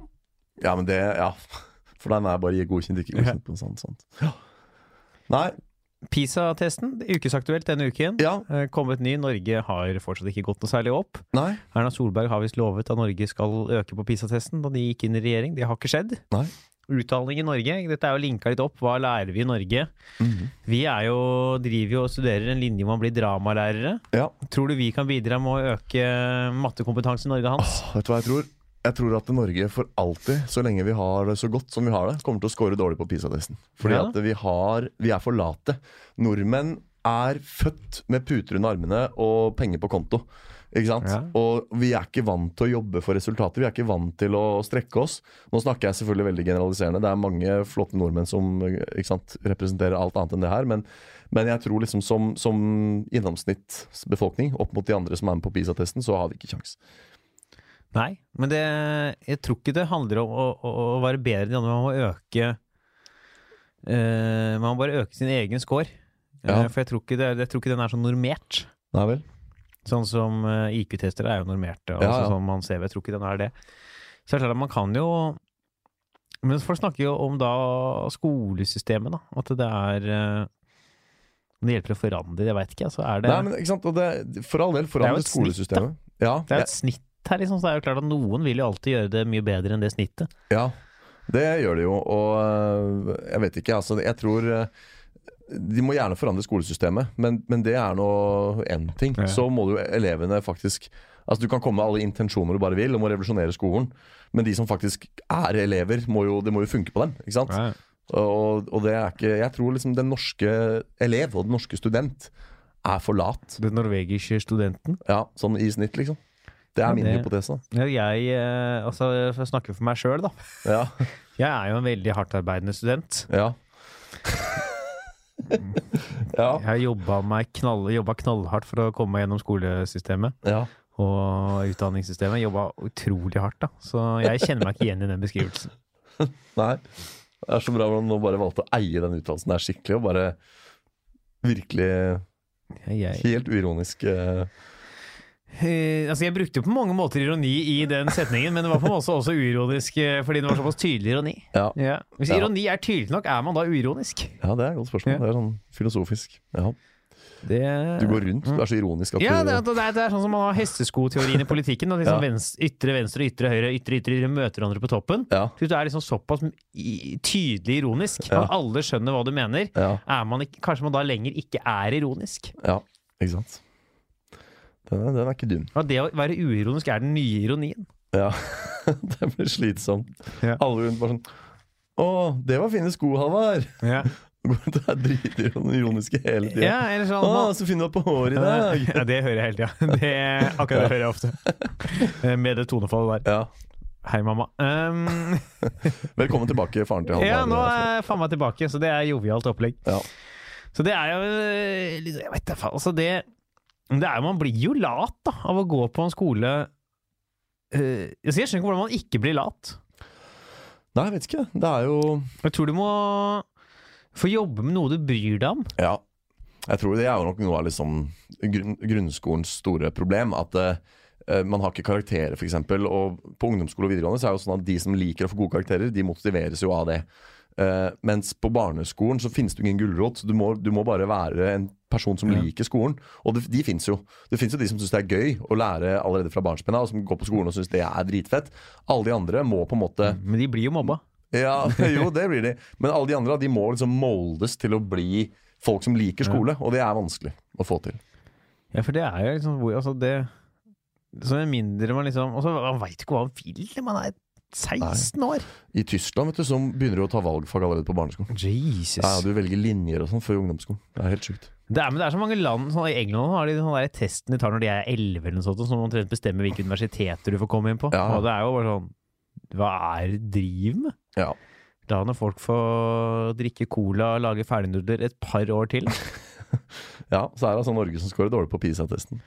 C: ja, men det Ja. *laughs* For den er bare godkjent, ikke godkjent. på sånt, sånt. Ja. Nei.
B: PISA-testen, ukesaktuelt denne uken.
C: Ja.
B: Eh, Kommet ny. Norge har fortsatt ikke gått noe særlig opp.
C: Nei.
B: Erna Solberg har visst lovet at Norge skal øke på PISA-testen da de gikk inn i regjering. Det har ikke skjedd.
C: Nei.
B: Utdanning i Norge, dette er jo linka litt opp. Hva lærer vi i Norge?
C: Mhm.
B: Vi er jo, driver jo og studerer en linje hvor man blir dramalærere.
C: Ja.
B: Tror du vi kan bidra med å øke eh, mattekompetansen i Norge, Hans?
C: Vet du hva jeg tror? Jeg tror at Norge for alltid, så lenge vi har det så godt som vi har det, kommer til å score dårlig på PISA-testen. Fordi
B: Ja.
C: at vi, har, vi er for late. Nordmenn er født med puter under armene og penger på konto. Ikke sant?
B: Ja.
C: Og vi er ikke vant til å jobbe for resultater. Vi er ikke vant til å strekke oss. Nå snakker jeg selvfølgelig veldig generaliserende. Det er mange flotte nordmenn som ikke sant, representerer alt annet enn det her. Men, men jeg tror liksom som, som innomsnittsbefolkning opp mot de andre som er med på PISA-testen, så har vi ikke kjangs.
B: Nei, men det, jeg tror ikke det handler om å, å, å være bedre enn de andre. Man må øke eh, Man må bare øke sin egen score. Eh,
C: Ja.
B: for jeg tror, ikke det, jeg tror ikke den er så normert.
C: Nei vel?
B: Sånn som eh, IQ-testere er jo normerte.
C: Ja,
B: Altså,
C: ja.
B: Sånn man ser, jeg tror ikke den er det. Så det er klart at man kan jo Men folk snakker jo om da skolesystemet, da. At det er eh, Om det hjelper å forandre det, jeg veit ikke. Altså, er det,
C: Nei, men ikke sant, og det, For all del,
B: Det er jo
C: forandre
B: et snitt,
C: skolesystemet. Ja,
B: det er jo et snitt her, liksom. Så det er jo klart at noen vil jo alltid gjøre det mye bedre enn det snittet.
C: ja, det gjør det jo. Og øh, jeg vet ikke, altså. Jeg tror øh, de må gjerne forandre skolesystemet, men, men det er nå én ting.
B: Ja.
C: Så må du elevene faktisk Altså Du kan komme med alle intensjoner du bare vil om å revolusjonere skolen, men de som faktisk er elever, må jo, det må jo funke på dem. ikke sant? Og, og det er ikke Jeg tror liksom den norske elev og den norske student er for lat.
B: Den norvegiske studenten.
C: Ja, Sånn i snitt, liksom. Det er
B: Ja,
C: min
B: det-
C: hypotese. da.
B: Jeg, eh, altså, for å snakke for meg sjøl, da.
C: Ja,
B: Jeg er jo en veldig hardtarbeidende student. *laughs*
C: ja. ja.
B: Jeg har jobba meg knall, jobba knallhardt for å komme meg gjennom skolesystemet
C: Ja.
B: og utdanningssystemet. Jobba utrolig hardt, da. Så jeg kjenner meg ikke igjen i den beskrivelsen.
C: Nei. Det er så bra hvordan du nå bare valgte å eie den uttalelsen der skikkelig, og bare virkelig
B: Jeg, jeg,
C: helt uironisk eh,
B: eh, altså, jeg brukte jo på mange måter ironi i den setningen, men det var på en måte også uironisk eh, fordi det var såpass tydelig ironi.
C: ja.
B: Ja. Hvis
C: Ja.
B: ironi er tydelig nok, er man da uironisk?
C: ja, det er et godt spørsmål.
B: Ja.
C: Det er sånn filosofisk. Ja.
B: Det
C: Du går rundt. Du er så ironisk
B: Mm.
C: at
B: Ja,
C: du
B: det, er- det, er, det er sånn som man har hesteskoteorien i politikken. At liksom
C: Ja.
B: venstre, ytre, venstre, ytre, høyre, ytre, ytre, ytre møter hverandre på toppen.
C: Ja.
B: Du er liksom såpass i- tydelig ironisk
C: Ja.
B: at alle skjønner hva du mener.
C: Ja.
B: Er man ikke, kanskje man da lenger ikke er ironisk?
C: ja. Ikke sant. Den er, den er ikke dum.
B: At det å være uironisk er den nye ironien.
C: Ja. *laughs* det blir slitsomt.
B: Ja.
C: Alle rundt bare sånn Å, det var fine sko, Halvard! *laughs*
B: Ja,
C: Det er dritironiske hele tida.
B: eller sånn
C: Å,
B: man-
C: så fin du var på håret i dag!
B: *laughs* ja, det hører jeg hele tida. *laughs* Det- Akkurat det hører jeg ofte. Eh, Med det tonefallet der.
C: Ja.
B: Hei, mamma. Um,
C: Velkommen tilbake, faren til Halvard.
B: ja, nå er faen meg tilbake, så det er jovialt opplegg.
C: Ja.
B: Så det er jo eh, litt- Jeg vet da faen. Altså, det, det er, jo- man blir jo lat da, av å gå på en skole Eh, altså, Jeg skjønner ikke hvordan man ikke blir lat.
C: Nei, jeg vet ikke. Det er jo
B: Jeg tror du må få jobbe med noe du bryr deg om.
C: Ja. Jeg tror det er jo nok noe av liksom grunn, grunnskolens store problem. At eh, eh, man har ikke karakterer, f.eks. Og på ungdomsskole og videregående så er det jo sånn at de som liker å få gode karakterer, de motiveres jo av det. Eh, mens på barneskolen så finnes det jo ingen gulrot. så Du, må- du må bare være en person som liker skolen. Og det, de fins jo. Det fins jo de som syns det er gøy å lære allerede fra barnsben av, og som går på skolen og syns det er dritfett. Alle de andre må på en måte
B: Men de blir jo mobba.
C: Ja, *laughs* jo, det blir de. Men alle de andre de må liksom moldes til å bli folk som liker skole, og det er vanskelig å få til.
B: Ja, for det er jo liksom hvor, altså det, Så med mindre man liksom Og så veit ikke hva man vil. Man er 16 år!
C: I Tyskland vet du, så begynner du å ta valgfag allerede på barneskolen.
B: Jesus.
C: Ja, ja, du velger linjer og sånn før ungdomsskolen. Det er helt sjukt.
B: Det er, men det er så mange land sånn, I England har de den der testen de tar når de er 11 eller noe sånt, som omtrent bestemmer hvilke universiteter du får komme inn på.
C: Ja.
B: Og det er jo bare sånn Hva er det du driver med?
C: Ja.
B: La nå folk få drikke cola og lage ferdignudler et par år til.
C: ja, Så er det altså Norge som scorer dårlig på PISA-testen.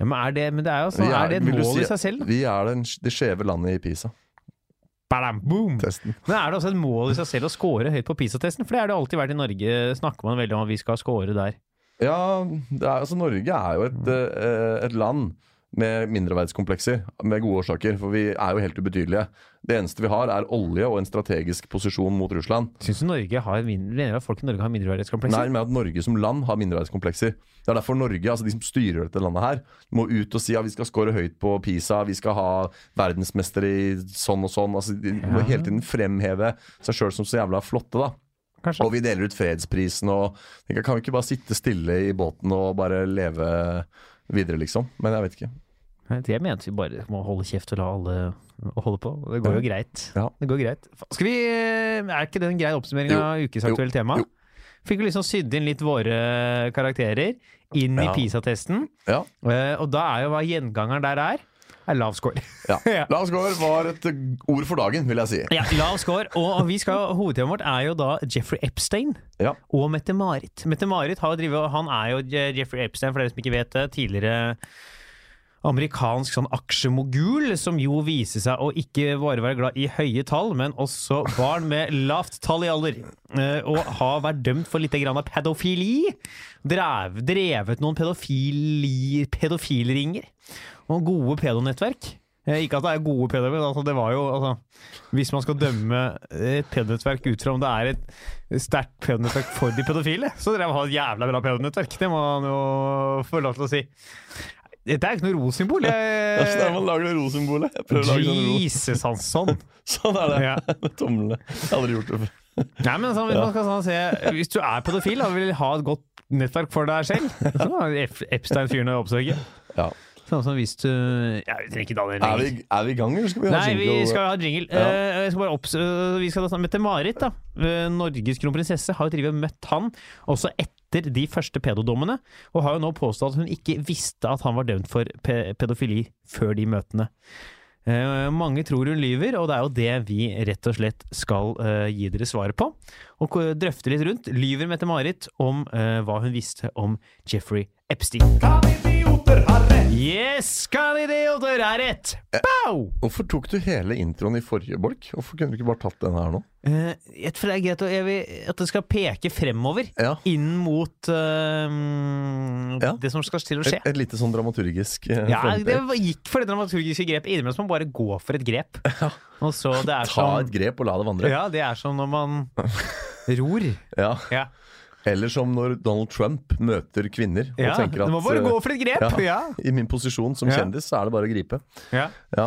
B: Ja, men, er det, men det er jo sånn,
C: Vi er-
B: er det et
C: vil du
B: mål
C: si-
B: i seg selv? da?
C: Vi er den, det skjeve landet i PISA-testen.
B: Badam, boom! Men er det også et mål i seg selv å score høyt på PISA-testen? For det har det alltid vært i Norge, snakker man veldig om at vi skal score der.
C: Ja, det er, altså Norge er jo et, eh, et land med mindreverdskomplekser, med gode årsaker. For vi er jo helt ubetydelige. Det eneste vi har, er olje og en strategisk posisjon mot Russland.
B: Syns du Norge har min- mener du at folk i Norge har
C: Nei,
B: mindreverdighetskomplekser?
C: med at Norge som land har mindreverdskomplekser. Det er derfor Norge, altså de som styrer dette landet her, må ut og si at vi skal score høyt på PISA, vi skal ha verdensmester i sånn og sånn. Altså, de må
B: Ja.
C: hele tiden fremheve seg sjøl som så jævla flotte, da.
B: Kanskje.
C: Og vi deler ut fredsprisen og tenker, Kan vi ikke bare sitte stille i båten og bare leve videre, liksom? Men jeg vet ikke.
B: Det mente vi bare må holde kjeft og la alle holde på. Det går jo greit.
C: Ja.
B: Det går greit. Fa- Skal vi, er ikke det en grei oppsummering
C: Jo.
B: av ukes aktuelle tema?
C: Jo.
B: Fikk vi liksom sydd inn litt våre karakterer inn i
C: Ja.
B: PISA-testen.
C: Ja.
B: Eh, Og da er jo hva gjengangeren der er, er lav score.
C: ja.
B: *laughs* Ja.
C: La oss gå over var et eh, ord for dagen, vil jeg si.
B: *laughs* Ja, lav score. Og vi skal, hovedtemaet vårt er jo da Jeffrey Epstein
C: *laughs* Ja.
B: og Mette-Marit. Mette-Marit har jo drivet, han er jo Je- Jeffrey Epstein, for dere som ikke vet det, tidligere amerikansk sånn aksjemogul, som jo viser seg å ikke bare være glad i høye tall, men også barn med lavt tall i alder. Eh, Og har vært dømt for litt grann av pedofili. Drev, drevet noen pedofili, pedofilringer og gode pedonettverk. Eh, Ikke at det er gode pedoer, men altså det var jo altså, Hvis man skal dømme eh, et pedonettverk ut fra om det er et sterkt pedonettverk for de pedofile, så drev han et jævla bra pedonettverk. Det må han jo få lov til å si. Dette er ikke noe rosymbol.
C: Det er sånn
B: jeg-
C: man lager det rosymbolet. Jeg prøver å lage sånn ro.
B: Jesus Hansson!
C: Sånn er det.
B: Ja.
C: *laughs* Med tomlene. Jeg har aldri gjort det før.
B: Nei, men sånn, hvis, man skal sånn se, hvis du er pedofil og vil ha et godt nettverk for deg selv, så er Ep- Epstein fyren å oppsøke.
C: Ja.
B: Sånn som hvis du Ja, vi trenger ikke ta det
C: Er, vi, er vi i gang, eller skal vi ha
B: Nei, vi
C: jingle?
B: skal ha jingle.
C: Ja.
B: Eh, jeg skal bare opps eh, vi skal da snakke med Marit, da. Eh, Norges kronprinsesse har jo drevet og møtt han også etter de første pedodommene, og har jo nå påstått at hun ikke visste at han var dømt for pe pedofili før de møtene. Eh, mange tror hun lyver, og det er jo det vi rett og slett skal eh, gi dere svaret på. Og ko- drøfte litt rundt. Lyver Mette-Marit om eh, hva hun visste om Jeffrey Epstein? Yes, Galileo, det er rett! Bow!
C: Hvorfor tok du hele introen i forrige bolk? Hvorfor kunne du ikke bare tatt den her nå?
B: Eh, Jeg tror det er greit å, jeg vil, at det skal peke fremover,
C: Ja.
B: inn mot eh,
C: Ja.
B: det som skal til å
C: Et,
B: skje.
C: et lite sånn dramaturgisk eh,
B: Ja,
C: frontpek.
B: det gikk for det dramaturgiske grepet. Innimellom må man bare gå for et grep.
C: *laughs*
B: Og så det er
C: Ta
B: som,
C: et grep og la det vandre.
B: ja, det er som når man
C: *laughs*
B: ror.
C: Ja.
B: Ja.
C: Eller som når Donald Trump møter kvinner og
B: Ja,
C: tenker at
B: du må bare
C: eh,
B: gå for et grep! Ja.
C: ja, I min posisjon som
B: Ja.
C: kjendis, så er det bare å gripe.
B: Ja.
C: Ja,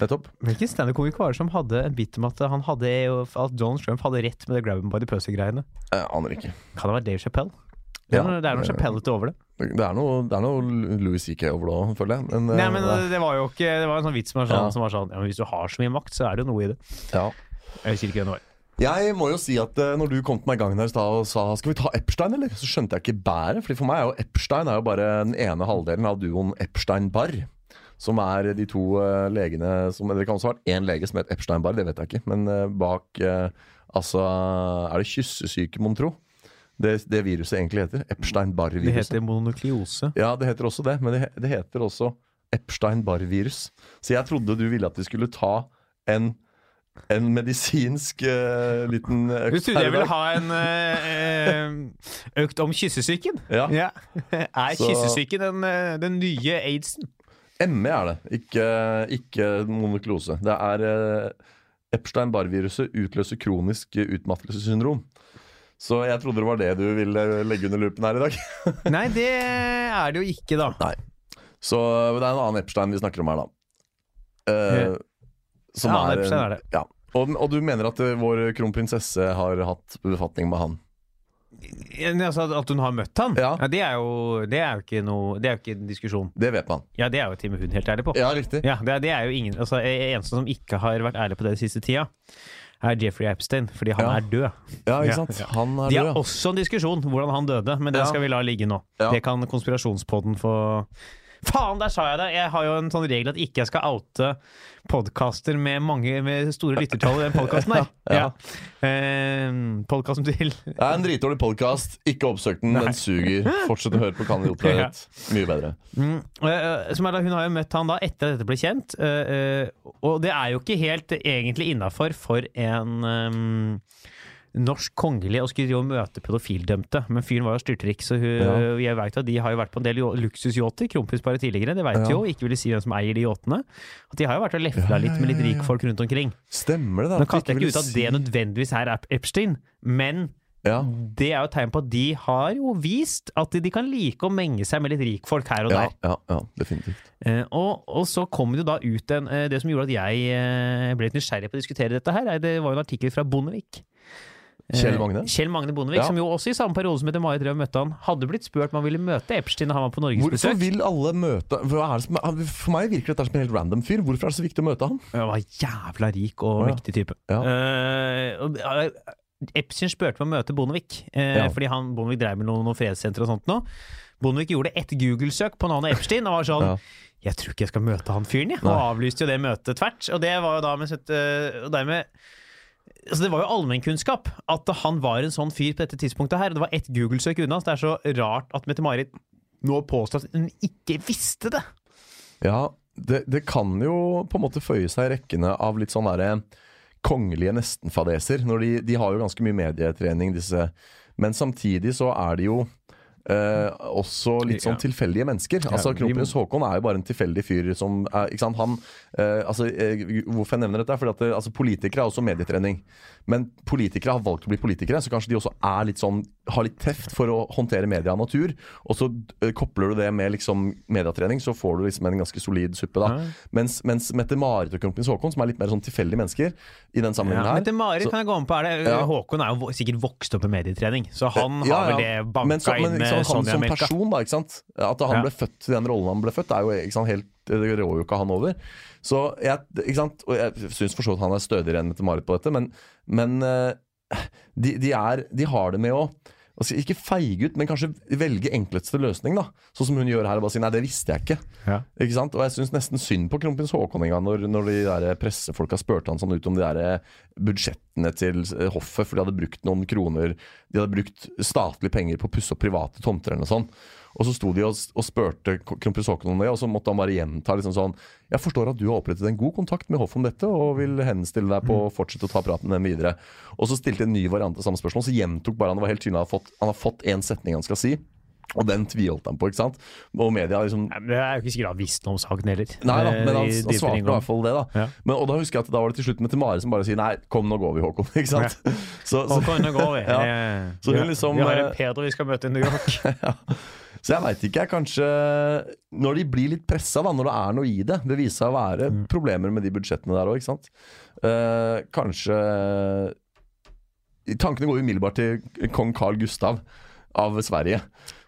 C: nettopp.
B: Hvilken standup-komiker var det som hadde en bit om at, han hadde, at Donald Trump hadde rett med det grab by the pussy-greiene?
C: Jeg aner ikke.
B: Kan det være Dave Chappelle? Det er
C: Ja.
B: noe, det er noe Chappelle-ete over det.
C: Det er noe, det er noe Louis C.K. over det òg, føler jeg. Men, eh,
B: Nei, men det- det var jo ikke Det var en sånn vits som var sånn,
C: Ja.
B: som var sånn ja, men Hvis du har så mye makt, så er det jo noe i det.
C: ja.
B: Jeg husker ikke hvem det var.
C: Jeg må jo si at eh, når du kom til meg i gangen her i stad og sa Skal vi ta Epstein, eller? Så skjønte jeg ikke bæret. Fordi for meg er jo Epstein er jo bare den ene halvdelen av duoen Epstein-Barr. Som er de to eh, legene som Eller det kan også ha vært én lege som het Epstein-Barr, det vet jeg ikke. Men eh, bak eh, Altså Er det kyssesyke, mon tro? Det, det viruset egentlig heter.
B: Det
C: Epstein-Barr-viruset.
B: heter mononukleose.
C: Ja, det heter også det, men det, he- det heter også Epstein-Barr-virus. Så jeg trodde du ville at vi skulle ta en, en medisinsk eh, liten økt
B: Du trodde jeg ville ha
C: her i dag.
B: en eh, eh, økt om kyssesyken?
C: Ja.
B: Ja. *laughs* Er
C: Så-
B: kyssesyken den, eh, den nye aidsen?
C: ME E er det, ikke, ikke monoklose. Det er eh, Epstein-Barr-viruset utløser kronisk utmattelsessyndrom. Så jeg trodde det var det du ville eh, legge under lupen her i dag.
B: Nei, det er det jo ikke, da.
C: Så det er en annen Epstein vi snakker om her, da. Eh,
B: Ja.
C: som
B: Ja, annen Epstein er det.
C: Ja. Og, og du mener at eh, vår kronprinsesse har hatt befatning med han?
B: Ja, men Altså, at hun har møtt han?
C: Ja.
B: det, er jo, det er jo ikke noe Det er jo ikke en diskusjon.
C: Det vet man.
B: Ja, det er jo Tim Hun helt ærlig på.
C: Ja, riktig.
B: Ja, det, er, det er jo ingen altså, e- Eneste som ikke har vært ærlig på det den siste tida, er Jeffrey Epstein, fordi han
C: Ja.
B: er død.
C: Ja,
B: Ja.
C: ikke sant? Han er
B: De
C: død.
B: har
C: ja.
B: også en diskusjon hvordan han døde, men den
C: Ja.
B: skal vi la ligge nå.
C: Ja.
B: Det kan konspirasjonspodden få Faen, der sa jeg det! Jeg har jo en sånn regel at ikke jeg skal oute podkaster med, mange- med store lyttertall i den podkasten her.
C: *laughs* Ja.
B: podkasten til
C: Det er en dritdårlig podkast. Ikke oppsøk den. Den suger. Fortsett å høre på Kan idiot være rett. Mye bedre.
B: Mm, eh, som er da, hun har jo møtt han da etter at dette ble kjent, eh, eh, og det er jo ikke helt eh, egentlig innafor for en ehm, norsk kongelig å skulle drive og møte pedofildømte. Men fyren var jo styrtrik, så hun, eh, jeg vet at de har jo vært på en del jo- luksusyachter. Kronprins bare tidligere, det vet
C: Ja.
B: vi jo. Ikke ville si hvem som eier de yachtene. At de har jo vært og lefla
C: Ja, ja,
B: litt med litt
C: ja, ja.
B: rikfolk rundt omkring.
C: Stemmer det, da?
B: Nå
C: at de
B: kaster jeg
C: ville
B: ikke ut at
C: si-
B: det nødvendigvis er Ep- Epstein, men
C: ja.
B: det er jo et tegn på at de har jo vist at de kan like å menge seg med litt rikfolk her og
C: Ja,
B: der.
C: ja, ja, definitivt.
B: Eh, og, og så kom det jo da ut en eh, Det som gjorde at jeg eh, ble litt nysgjerrig på å diskutere dette her, er, det var jo en artikkel fra Bondevik. Eh,
C: Kjell Magne?
B: Kjell Magne Bondevik,
C: Ja.
B: som jo også i samme periode som etter Marit Røv møtte han, hadde blitt spurt om han ville møte Epstein da han var på
C: Hvorfor
B: norgesbesøk.
C: vil alle møte hva er det som, er- For meg virker dette som en helt random fyr. Hvorfor er det så viktig å møte han?
B: Han var jævla rik og
C: Å, ja.
B: mektig type.
C: Ja.
B: Eh, og, eh, Epstein spurte om å møte Bondevik, eh,
C: Ja.
B: fordi han, Bondevik drev med noen, noen fredssenter og sånt nå. Bondevik gjorde ett Google-søk på navnet Epstein og var sånn
C: Ja.
B: Jeg tror ikke jeg skal møte han fyren, jeg. Og
C: Nei.
B: avlyste jo det møtet tvert. Og det var jo da mens et, øh, og dermed Altså Det var jo allmennkunnskap at han var en sånn fyr på dette tidspunktet. her og Det var ett Google-søk unna, så det er så rart at Mette-Marit nå påstår at hun ikke visste det.
C: Ja, det, det kan jo på en måte føye seg i rekkene av litt sånn derre kongelige nestenfadeser. Når de, de har jo ganske mye medietrening, disse. Men samtidig så er de jo eh, også litt sånn
B: Ja.
C: tilfeldige mennesker. Altså
B: vi må-
C: Kronprins Haakon er jo bare en tilfeldig fyr som er, Ikke sant. Han eh, Altså, eh, hvorfor jeg nevner dette, er fordi at eh, altså, politikere er også medietrening. Men politikere har valgt å bli politikere, så kanskje de også er litt sånn har litt teft for å håndtere media og natur. Og så eh, kobler du det med liksom mediatrening, så får du liksom en ganske solid suppe, da. Mens, mens Mette-Marit og Kronprins Haakon, som er litt mer sånn tilfeldige mennesker i den sammenhengen her
B: Mette-Marit
C: så-
B: kan jeg gå med på. Er det,
C: Ja.
B: Håkon er jo vo- sikkert vokst opp med medietrening, så han
C: Ja,
B: har vel
C: ja.
B: det
C: Men
B: banka
C: så- men
B: inn
C: liksom,
B: med
C: han
B: Sonja
C: som
B: Melka.
C: person, da, ikke sant? At han
B: Ja.
C: ble født til den rollen han ble født, er jo ikke sant, helt, det rår jo ikke han over. Så jeg, ikke sant? Og jeg syns for så vidt han er stødigere enn Mette-Marit på dette, men, men eh, de, de, er, de har det med å altså, ikke feige ut, men kanskje velge enkleste løsning. da Sånn som hun gjør her og bare sier 'nei, det visste jeg ikke'.
B: Ja.
C: Ikke sant? Og jeg syns nesten synd på kronprins Haakon en gang når, når de der pressefolka spurte han sånn ut om de der budsjettene til eh, hoffet, for de hadde brukt noen kroner De hadde brukt statlige penger på å pusse opp private tomter eller noe sånt. Og så sto de og, og spurte k- kronprins Haakon om det, og så måtte han bare gjenta liksom sånn Jeg forstår at du har opprettet en god kontakt med hoffet om dette, og vil henstille deg på å fortsette å ta praten med dem videre. Og så stilte en ny variant av samme spørsmål, så gjentok bare han det var helt tydelig han har fått, han har fått en setning han skal si. Og den tviholdt han på, ikke sant? Og media har liksom
B: Nei, men Det er jo ikke sikkert han visste noe om saken heller.
C: Nei da, men han,
B: Eh, i
C: han
B: dypere
C: svarte i
B: inngang.
C: hvert fall det, da.
B: Ja.
C: Men, og da husker jeg at da var det til slutt med til Mare som bare sier nei, kom nå går vi, Håkon. *laughs* Ikke sant? Så, så,
B: Håkon, nå går vi.
C: *laughs* Ja.
B: Eh,
C: Så hun
B: ja.
C: liksom,
B: vi har
C: eh,
B: en Pedro vi skal møte i New
C: *laughs*
B: York.
C: så jeg veit ikke, jeg. Kanskje når de blir litt pressa, da, når det er noe i det. Det viser seg å være
B: Mm.
C: problemer med de budsjettene der òg, ikke sant. Eh, kanskje Tankene går umiddelbart til kong Carl Gustav av Sverige.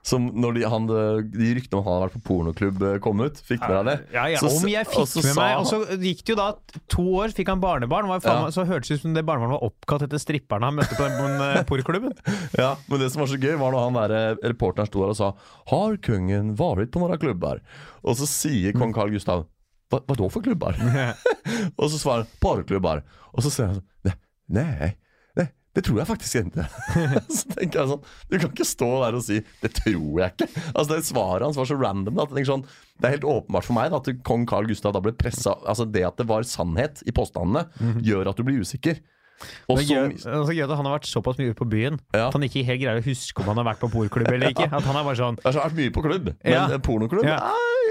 C: Som når de, han, de ryktene om han hadde vært på pornoklubb, eh, kom ut. Fikk med deg det?
B: Ja, ja,
C: Så-
B: om jeg
C: og
B: fikk
C: så
B: med
C: sa
B: meg
C: han-
B: Og så gikk det jo da to år, fikk han barnebarn. Var faen,
C: Ja.
B: meg- Så hørtes det ut som det barnebarnet var oppkalt etter stripperne han møtte på den- på den eh, porklubben.
C: Ja, men det som var så gøy var når han der, eh, reporteren sto der og sa Har kongen vært på noen klubber? Og så sier kong Carl Gustav Hva, hva da for klubber? *laughs* og så svarer han bare klubber. Og så sier han sånn «Ne- Nei, nei, det tror jeg faktisk ikke. *laughs* så tenker jeg sånn Du kan ikke stå der og si 'det tror jeg ikke'. Altså det Svaret hans var så random. Da, at jeg tenker sånn, det er helt åpenbart for meg da, at kong Carl Gustav da ble pressa Altså det at det var sannhet i påstandene, gjør at du blir usikker. *laughs* Og
B: Mhm. Men gjør,
C: så
B: altså, gjør det, at han har vært såpass mye ute på byen
C: Ja.
B: at han ikke helt greier å huske om han har vært på porklubb eller ikke. At han er bare sånn
C: Jeg har vært mye på klubb, men
B: Ja.
C: eh, pornoklubb
B: Ja.
C: Nei,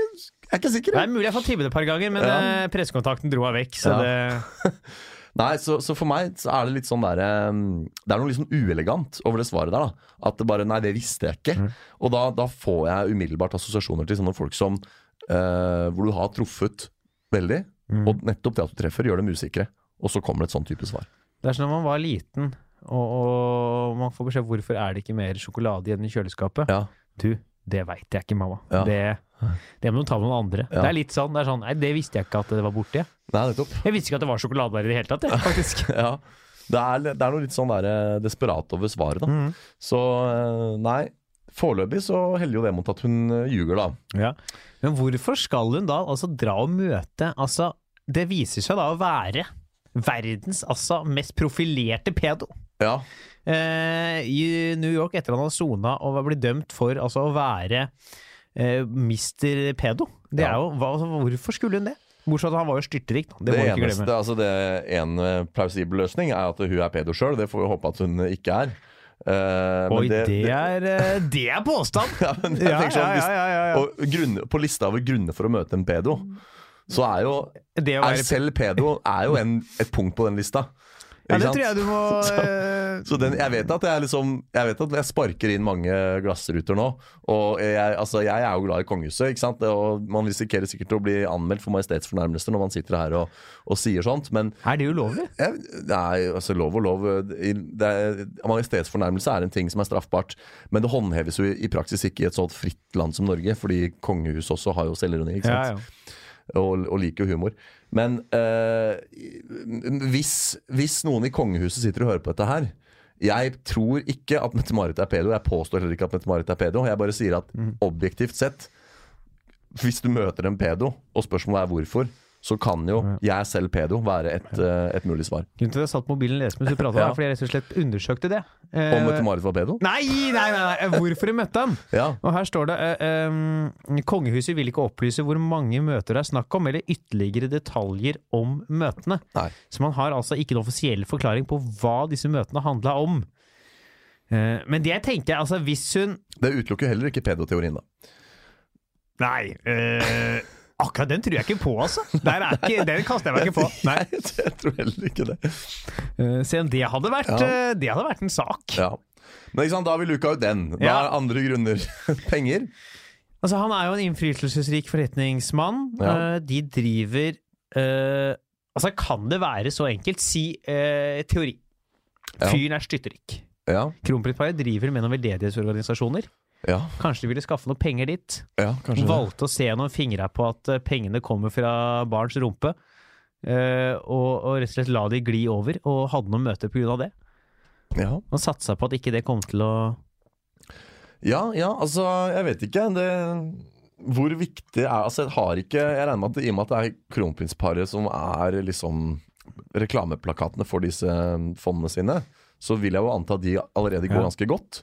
C: Jeg er ikke sikker.
B: Det
C: jeg.
B: er mulig jeg har fått tippet det et par ganger, men
C: Ja.
B: eh, pressekontakten dro meg vekk. Så
C: Ja.
B: det,
C: Nei, så, så for meg så er det litt sånn der eh, Det er noe liksom uelegant over det svaret der. da At det bare Nei, det visste jeg ikke. Og da, da får jeg umiddelbart assosiasjoner til sånne folk som eh, Hvor du har truffet veldig, og nettopp det at du treffer, gjør dem usikre. Og så kommer det et sånn type svar.
B: det er som når man var liten Og, og man får beskjed hvorfor er det ikke mer sjokolade igjen i kjøleskapet.
C: Ja.
B: Du, det veit jeg ikke, mamma.
C: Ja.
B: Det, det må du ta med noen andre.
C: Ja.
B: Det er litt sånn, det er sånn Nei, det visste jeg ikke at det var borti. jeg.
C: Nei, nettopp.
B: Jeg visste ikke at det var sjokolade der i det hele tatt, jeg, faktisk.
C: *laughs* Ja. Det er, det er noe litt sånn der, eh, desperat over svaret, da.
B: Mhm.
C: Så eh, nei. Foreløpig så heller jo det mot at hun eh, ljuger, da.
B: *laughs* Ja. Men hvorfor skal hun da altså dra og møte Altså, det viser seg da å være verdens altså mest profilerte pedo.
C: Ja.
B: Eh, I New York etter han har sona og blitt dømt for altså å være eh, mister pedo. Det
C: Ja.
B: er jo, hva, altså, hvorfor skulle hun det? Bortsett fra at han var jo styrtrik, da. Det,
C: Det
B: må vi ikke
C: eneste,
B: glemme.
C: altså det En eh, plausibel løsning er at hun er pedo sjøl. Det får vi håpe at hun ikke er. Eh, men
B: Oi, det, er, eh, det er påstand!
C: *laughs* ja, men *laughs* jeg tenker sånn, hvis,
B: ja, ja, ja.
C: Og grunn, På lista over grunner for å møte en pedo, så er jo
B: Det å
C: er
B: være
C: Selv pedo er jo en, et punkt på den lista.
B: Ja,
C: Ikke
B: det
C: sant?
B: tror jeg du må eh,
C: *laughs* Så den, jeg, vet at jeg, er liksom, jeg vet at jeg sparker inn mange glassruter nå. Og jeg, altså, jeg er jo glad i kongehuset, ikke sant? og man risikerer sikkert å bli anmeldt for majestetsfornærmelser når man sitter her og, og sier sånt, men
B: Er det ulovlig?
C: jeg, nei, altså lov og lov i- det er, Majestetsfornærmelse er en ting som er straffbart, men det håndheves jo i, i praksis ikke i et sånt fritt land som Norge, fordi kongehuset også har jo selvironi. ikke
B: Ja,
C: sant?
B: ja.
C: og, og liker jo humor. Men eh, hvis, hvis noen i kongehuset sitter og hører på dette her Jeg tror ikke at Mette-Marit er pedo. Jeg påstår heller ikke at Mette-Marit er pedo. Jeg bare sier at
B: Mhm.
C: objektivt sett, hvis du møter en pedo, og spørsmålet er hvorfor, så kan jo 'jeg er selv pedo' være et, eh, et mulig svar.
B: Grunnen til at jeg satt mobilen lese mens du pratet,
C: Ja.
B: er fordi jeg rett og slett undersøkte det.
C: Om
B: Eh,
C: Mette-Marit var pedo?
B: nei, nei, nei, nei! Hvorfor jeg møtte han?
C: Ja.
B: Og her står det eh, em, Kongehuset vil ikke opplyse hvor mange møter det er snakk om, eller ytterligere detaljer om møtene.
C: Nei.
B: Så man har altså ikke en offisiell forklaring på hva disse møtene handla om. Eh, men det jeg tenker, altså hvis hun
C: Det utelukker jo heller ikke pedoteorien, da.
B: Nei! eh, akkurat den tror jeg ikke på, altså! Der er ikke, den kaster jeg meg ikke på. *laughs* Nei.
C: *laughs* jeg tror heller ikke det.
B: Eh, se om det hadde vært
C: Ja.
B: eh, Det hadde vært en sak.
C: Ja. Men ikke sant, da har vi luka ut den. Da
B: Ja.
C: er andre grunner *laughs* penger.
B: Altså, han er jo en innflytelsesrik forretningsmann.
C: Ja.
B: Eh, de driver eh, Altså, kan det være så enkelt? Si eh, teori.
C: Ja.
B: Fyren er styrtrik.
C: Ja,
B: Kronprinsparet driver med noen veldedighetsorganisasjoner.
C: ja,
B: Kanskje de ville skaffe noen penger dit?
C: ja kanskje det.
B: Valgte å se gjennom fingra på at eh, pengene kommer fra barns rumpe. eh, og, og rett og slett la de gli over, og hadde noen møter pga. det.
C: Ja.
B: Og satsa på at ikke det kom til å
C: ja, ja, altså, jeg vet ikke. Det, hvor viktig er Altså, jeg har ikke Jeg regner med at det, i og med at det er kronprinsparet som er liksom reklameplakatene for disse um, fondene sine, så vil jeg jo anta at de allerede går
B: Ja.
C: ganske godt.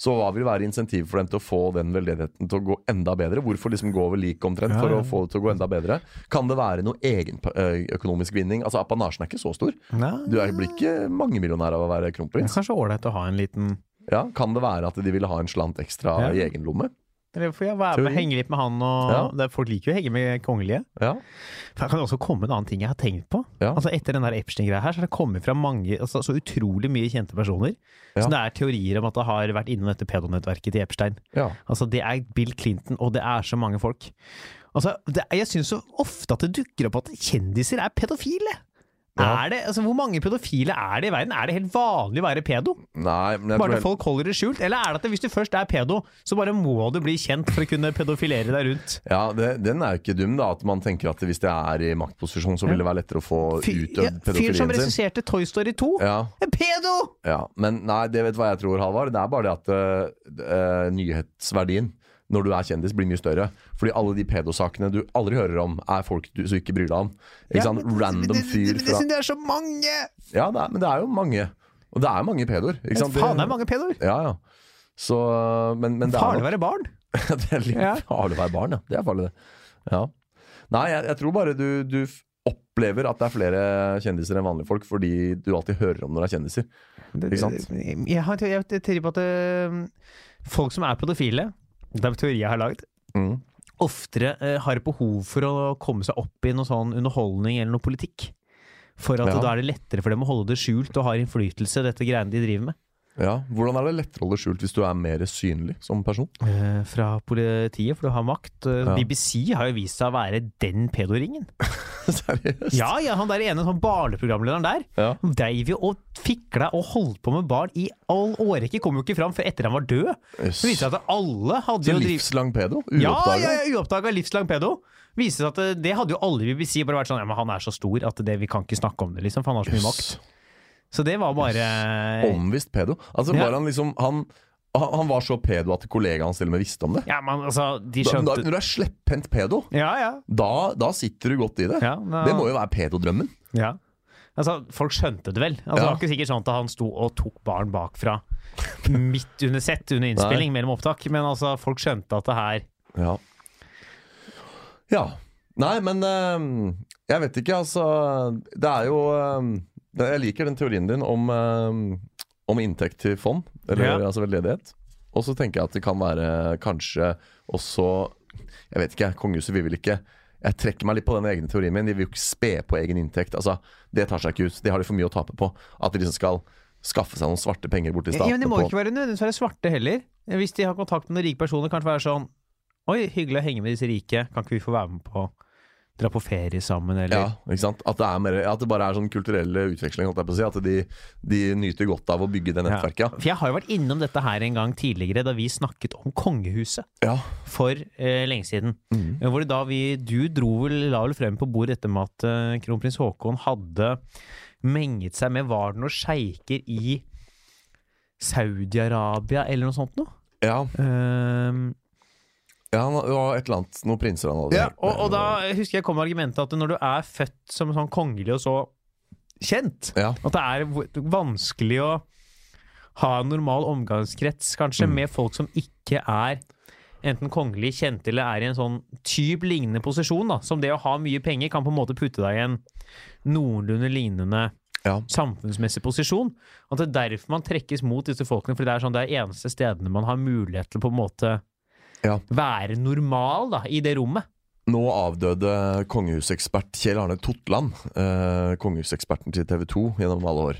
C: Så hva vil være insentiv for dem til å få den veldedigheten til å gå enda bedre? Hvorfor liksom gå over lik omtrent
B: Ja,
C: for
B: ja.
C: å få det til å gå enda bedre? Kan det være noe egenøkonomisk vinning? Altså, apanasjen er ikke så stor. Du er, blir ikke mangemillionær av å være
B: Det er
C: kronprins.
B: kanskje ålreit å ha en liten
C: Ja, Kan det være at de ville ha en slant ekstra
B: Ja.
C: i egen lomme?
B: Eller får jeg være med,
C: Teori.
B: henge litt med han og
C: Ja.
B: det, er- Folk liker jo å henge med kongelige.
C: Ja.
B: For Her kan det også komme en annen ting jeg har tenkt på.
C: Ja.
B: Altså Etter den der Epstein-greia her, så har det kommet fra mange altså, så utrolig mye kjente personer.
C: Ja.
B: Så det er teorier om at det har vært innom dette pedonettverket til Epstein.
C: ja.
B: Altså Det er Bill Clinton, og det er så mange folk. Altså, det, er- Jeg syns så ofte at det dukker opp at kjendiser er pedofile!
C: Ja.
B: Er det, altså Hvor mange pedofile er det i verden? Er det helt vanlig å være pedo?
C: Nei, men jeg
B: Bare
C: tror
B: at folk holder det skjult? Eller er det at det- hvis du først er pedo, så bare må du bli kjent for å kunne pedofilere deg rundt?
C: ja, det, Den er jo ikke dum, da. At man tenker at hvis det er i maktposisjon, så vil det være lettere å få
B: Fyr, ja,
C: utøvd
B: fyr som
C: pedofilien sin.
B: regisserte Toy Story 2?
C: Ja,
B: En pedo!
C: ja, Men nei, det vet du hva jeg tror, Halvard. Det er bare det at eh, eh, nyhetsverdien når du er kjendis, blir mye større. Fordi alle de pedosakene du aldri hører om, er folk du som ikke bryr deg om. Ikke sant? Random fyr fra
B: det er så mange!
C: Ja, det er, men det er jo mange. Og det er mange pedoer. Ikke sant?
B: Faen, det er mange pedoer!
C: Ja, ja. Så, eh, men, men det er
B: Farlig å være barn.
C: Ja, *laughs* det er litt
B: Ja.
C: farlig å være barn, ja. Det er farlig, det. Ja. Nei, jeg, jeg tror bare du, du f- opplever at det er flere kjendiser enn vanlige folk, fordi du alltid hører om når det er kjendiser. Ikke sant?
B: Jeg har jeg har en teori på at øhm, folk som er pedofile, det er en teori jeg har lagd,
C: Mm.
B: oftere eh, har behov for å komme seg opp i noe sånn underholdning eller noe politikk. For at
C: Ja.
B: da er det lettere for dem å holde det skjult og har innflytelse, dette greiene de driver med.
C: Ja. Hvordan er det lettere å holde skjult hvis du er mer synlig som person? *laughs*
B: Eh, fra politiet, for du har makt. Eh,
C: Ja.
B: BBC har jo vist seg å være den
C: *laughs*
B: pedoringen.
C: Seriøst?
B: Ja, ja, han der ene sånn barneprogramlederen der.
C: Ja.
B: Han dreiv jo og fikla og holdt på med barn i all årrekke. Kom jo ikke fram før etter han var død.
C: Jøss.
B: Det viste seg at alle hadde jo
C: Så
B: driv-
C: livslang pedo?
B: Ja,
C: Uoppdaga?
B: ja, ja, uoppdaga livslang pedo. Viste seg at eh, det hadde jo alle i BBC bare vært sånn Ja, men han er så stor at det, vi kan ikke snakke om det, liksom, for han har så mye makt.
C: Jøss.
B: Så det var bare
C: Omvisst pedo? Altså
B: Ja.
C: var Han liksom han, han han var så pedo at kollegaen hans til og med visste om det?
B: Ja, men altså, de
C: Da, da,
B: skjønte
C: når du er slepphendt pedo,
B: Ja, ja.
C: da, da sitter du godt i det.
B: Ja, da-
C: Det må jo være pedodrømmen.
B: Ja. Altså, folk skjønte det vel. Altså, Det
C: Ja.
B: var ikke sikkert sånn at han sto og tok barn bakfra midt under sett,
C: *laughs*
B: under innspilling, mellom opptak, men altså, folk skjønte at det her
C: Ja. ja. Nei, men eh, jeg vet ikke, altså. Det er jo eh, Jeg liker den teorien din om, eh, om inntekt til fond, eller
B: Ja.
C: altså veldedighet. Og så tenker jeg at det kan være kanskje også Jeg vet ikke, kongehuset vi vil ikke jeg trekker meg litt på den egne teorien min. De vil jo ikke spe på egen inntekt. Altså, Det tar seg ikke ut. Det har de for mye å tape på. At de liksom skal skaffe seg noen svarte penger borti
B: ja,
C: staten.
B: Men de må
C: på-
B: ikke være nødvendigvis være svarte heller. Hvis de har kontakt med noen rike personer, kanskje være sånn Oi, hyggelig å henge med disse rike. Kan ikke vi få være med på å dra på ferie sammen, eller
C: Ja, ikke sant? At det, er mer, at det bare er sånn kulturell utveksling. Holdt jeg på å si, at de, de nyter godt av å bygge det nettverket.
B: For jeg har jo vært innom dette her en gang tidligere, da vi snakket om kongehuset.
C: Ja.
B: for eh, lenge siden.
C: Mhm.
B: Eh, Hvor det da vi, du dro vel, la vel frem på bordet dette med at eh, kronprins Haakon hadde menget seg med Var det noen sjeiker i Saudi-Arabia eller noe sånt noe?
C: Ja.
B: Ehm,
C: ja, han- det var et eller annet. Noen prinser han hadde.
B: og, og da husker jeg kom argumentet at når du er født som sånn kongelig og så kjent,
C: Ja.
B: at det er v- vanskelig å ha en normal omgangskrets kanskje
C: Mm.
B: med folk som ikke er enten kongelig kjent eller er i en sånn typ lignende posisjon, da, som det å ha mye penger kan på en måte putte deg i en noenlunde lignende
C: Ja.
B: samfunnsmessig posisjon. At det er derfor man trekkes mot disse folkene, fordi det er sånn det er eneste stedene man har mulighet til å på en måte
C: Ja.
B: være normal da, i det rommet.
C: Nå avdøde kongehusekspert Kjell Arne Totland, eh, kongehuseksperten til TV 2 gjennom alle år.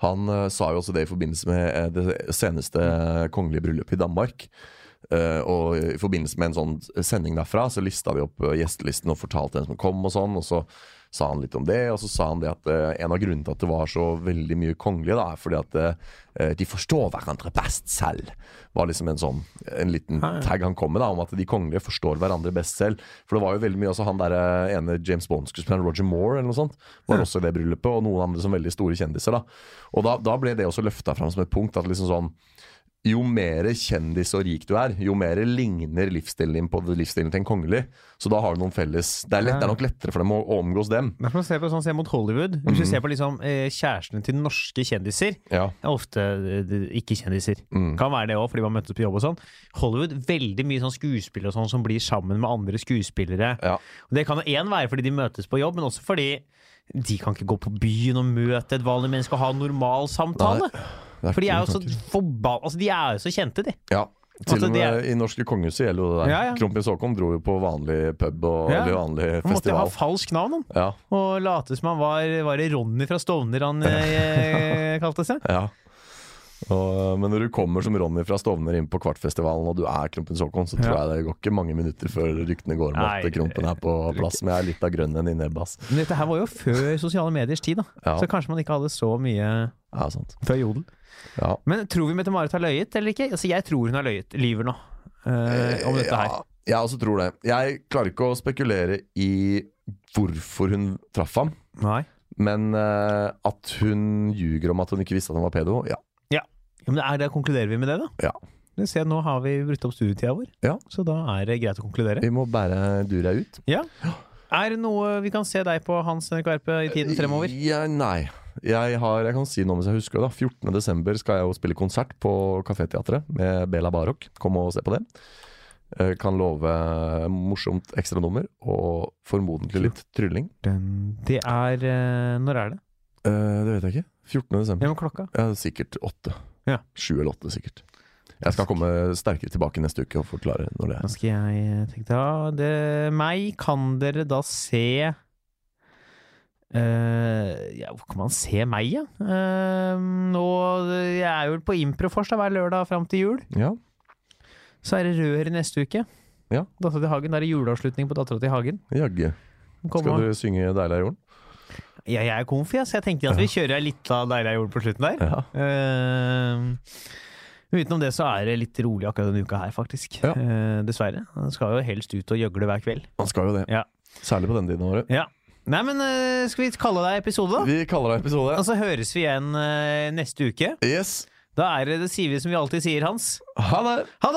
C: Han eh, sa jo også det i forbindelse med eh, det seneste kongelige bryllupet i Danmark. Eh, og i forbindelse med en sånn sending derfra, så lista vi opp eh, gjestelisten og fortalte hvem som kom og sånn. Og så sa han litt om det, og så sa han det at eh, en av grunnene til at det var så veldig mye kongelige, da, er fordi at eh, de forstår hverandre best selv. Var liksom en sånn en liten tag han kom med, da, om at de kongelige forstår hverandre best selv. For det var jo veldig mye altså Han der eh, ene James Bond-skuespilleren Roger Moore eller noe sånt, var også i det bryllupet, og noen andre som veldig store kjendiser. da Og da, da ble det også løfta fram som et punkt. At liksom sånn jo mer kjendis og rik du er, jo mer ligner livsstilen din på livsstilen til en kongelig. Så da har du noen felles Det er, lett, det er nok lettere for dem å, å omgås dem.
B: Hvis man ser på sånn, se mot Hollywood, hvis
C: Mm.
B: du ser på liksom, eh, kjærestene til norske kjendiser,
C: Ja.
B: er ofte eh, ikke-kjendiser.
C: Mm.
B: Kan være det òg, fordi man møtes på jobb og sånn. Hollywood, veldig mye sånn skuespillere og sånn som blir sammen med andre skuespillere.
C: Ja.
B: Og Det kan jo én være fordi de møtes på jobb, men også fordi de kan ikke gå på byen og møte et vanlig menneske og ha en normal samtale.
C: Det
B: For de er jo så
C: ikke-
B: forbanna Altså, de er jo så kjente, de.
C: ja.
B: Altså,
C: Til og
B: de
C: med
B: er-
C: i norske kongehuset gjelder jo det der.
B: Ja, ja.
C: Kronprins Haakon dro jo på vanlig pub og
B: Ja.
C: eller vanlig
B: Man måtte jo ha
C: festival.
B: falskt navn, han.
C: Ja,
B: Og late som han var, var det Ronny fra Stovner han eh, kalte seg.
C: ja. Og, men når du kommer som Ronny fra Stovner inn på Kvartfestivalen og du er kronprins Haakon, så tror jeg det går ikke mange minutter før ryktene går om
B: Nei,
C: at krompen er på plass. Men jeg er litt av grønnen i nebbet, ass.
B: Men dette her var jo før sosiale mediers tid, da.
C: Ja.
B: Så kanskje man ikke hadde så mye
C: Ja, sant.
B: før jodel.
C: Ja.
B: Men tror vi Mette-Marit har løyet eller ikke? Altså, jeg tror hun har løyet. Lyver nå. eh, om dette her.
C: Ja, jeg også tror det. Jeg klarer ikke å spekulere i hvorfor hun traff ham,
B: Nei.
C: men eh, at hun ljuger om at hun ikke visste at han var pedo, ja.
B: Ja, men er det, konkluderer vi med det, da?
C: Ja.
B: Men Se, nå har vi brutt opp studietida vår,
C: Ja.
B: så da er det greit å konkludere.
C: Vi må bære Dura ut.
B: Ja. Er det noe vi kan se deg på, Hans Henrik Verpe, i tiden fremover?
C: Ja, nei. Jeg, har, jeg kan si noe hvis jeg husker det. da. 14. desember skal jeg jo spille konsert på Kaféteatret med Bela Barok. Kom og se på det. Eh, Kan love morsomt ekstranummer og formodentlig litt trylling.
B: Den- Det er eh, Når er det?
C: Eh, Det vet jeg ikke. 14. desember.
B: Ja, men klokka?
C: Ja, sikkert åtte.
B: Ja.
C: Sju eller åtte, sikkert. Jeg skal komme sterkere tilbake neste uke og forklare når det
B: Da
C: er.
B: skal jeg eh, tenke da det, Meg kan dere da se Eh, ja, hvor kan man se meg, ja? Eh, nå, jeg er jo på Improfors da, hver lørdag fram til jul.
C: Ja.
B: Så er det Rør neste uke.
C: Ja.
B: Dattera til Hagen. Da er det juleavslutning på Dattera til Hagen.
C: Jaggu.
B: Kom
C: Skal
B: og-
C: du synge 'Deilig er jorden'?
B: Ja, jeg er komfy, ja, så jeg tenkte at vi kjører litt av Deilig er jord på slutten der.
C: Ja.
B: Eh, utenom det så er det litt rolig akkurat denne uka her, faktisk.
C: Ja.
B: Eh, dessverre. Man skal jo helst ut og gjøgle hver kveld.
C: Man skal jo det.
B: Ja.
C: Særlig på denne tiden av året.
B: Ja. Nei, men eh, skal vi kalle deg episode, da?
C: Vi kaller det episode.
B: Og så høres vi igjen eh, neste uke.
C: Yes.
B: Da er det det sier vi som vi alltid sier, Hans.
C: Ha det!
B: Ha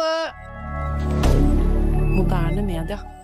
B: det!
D: Moderne media.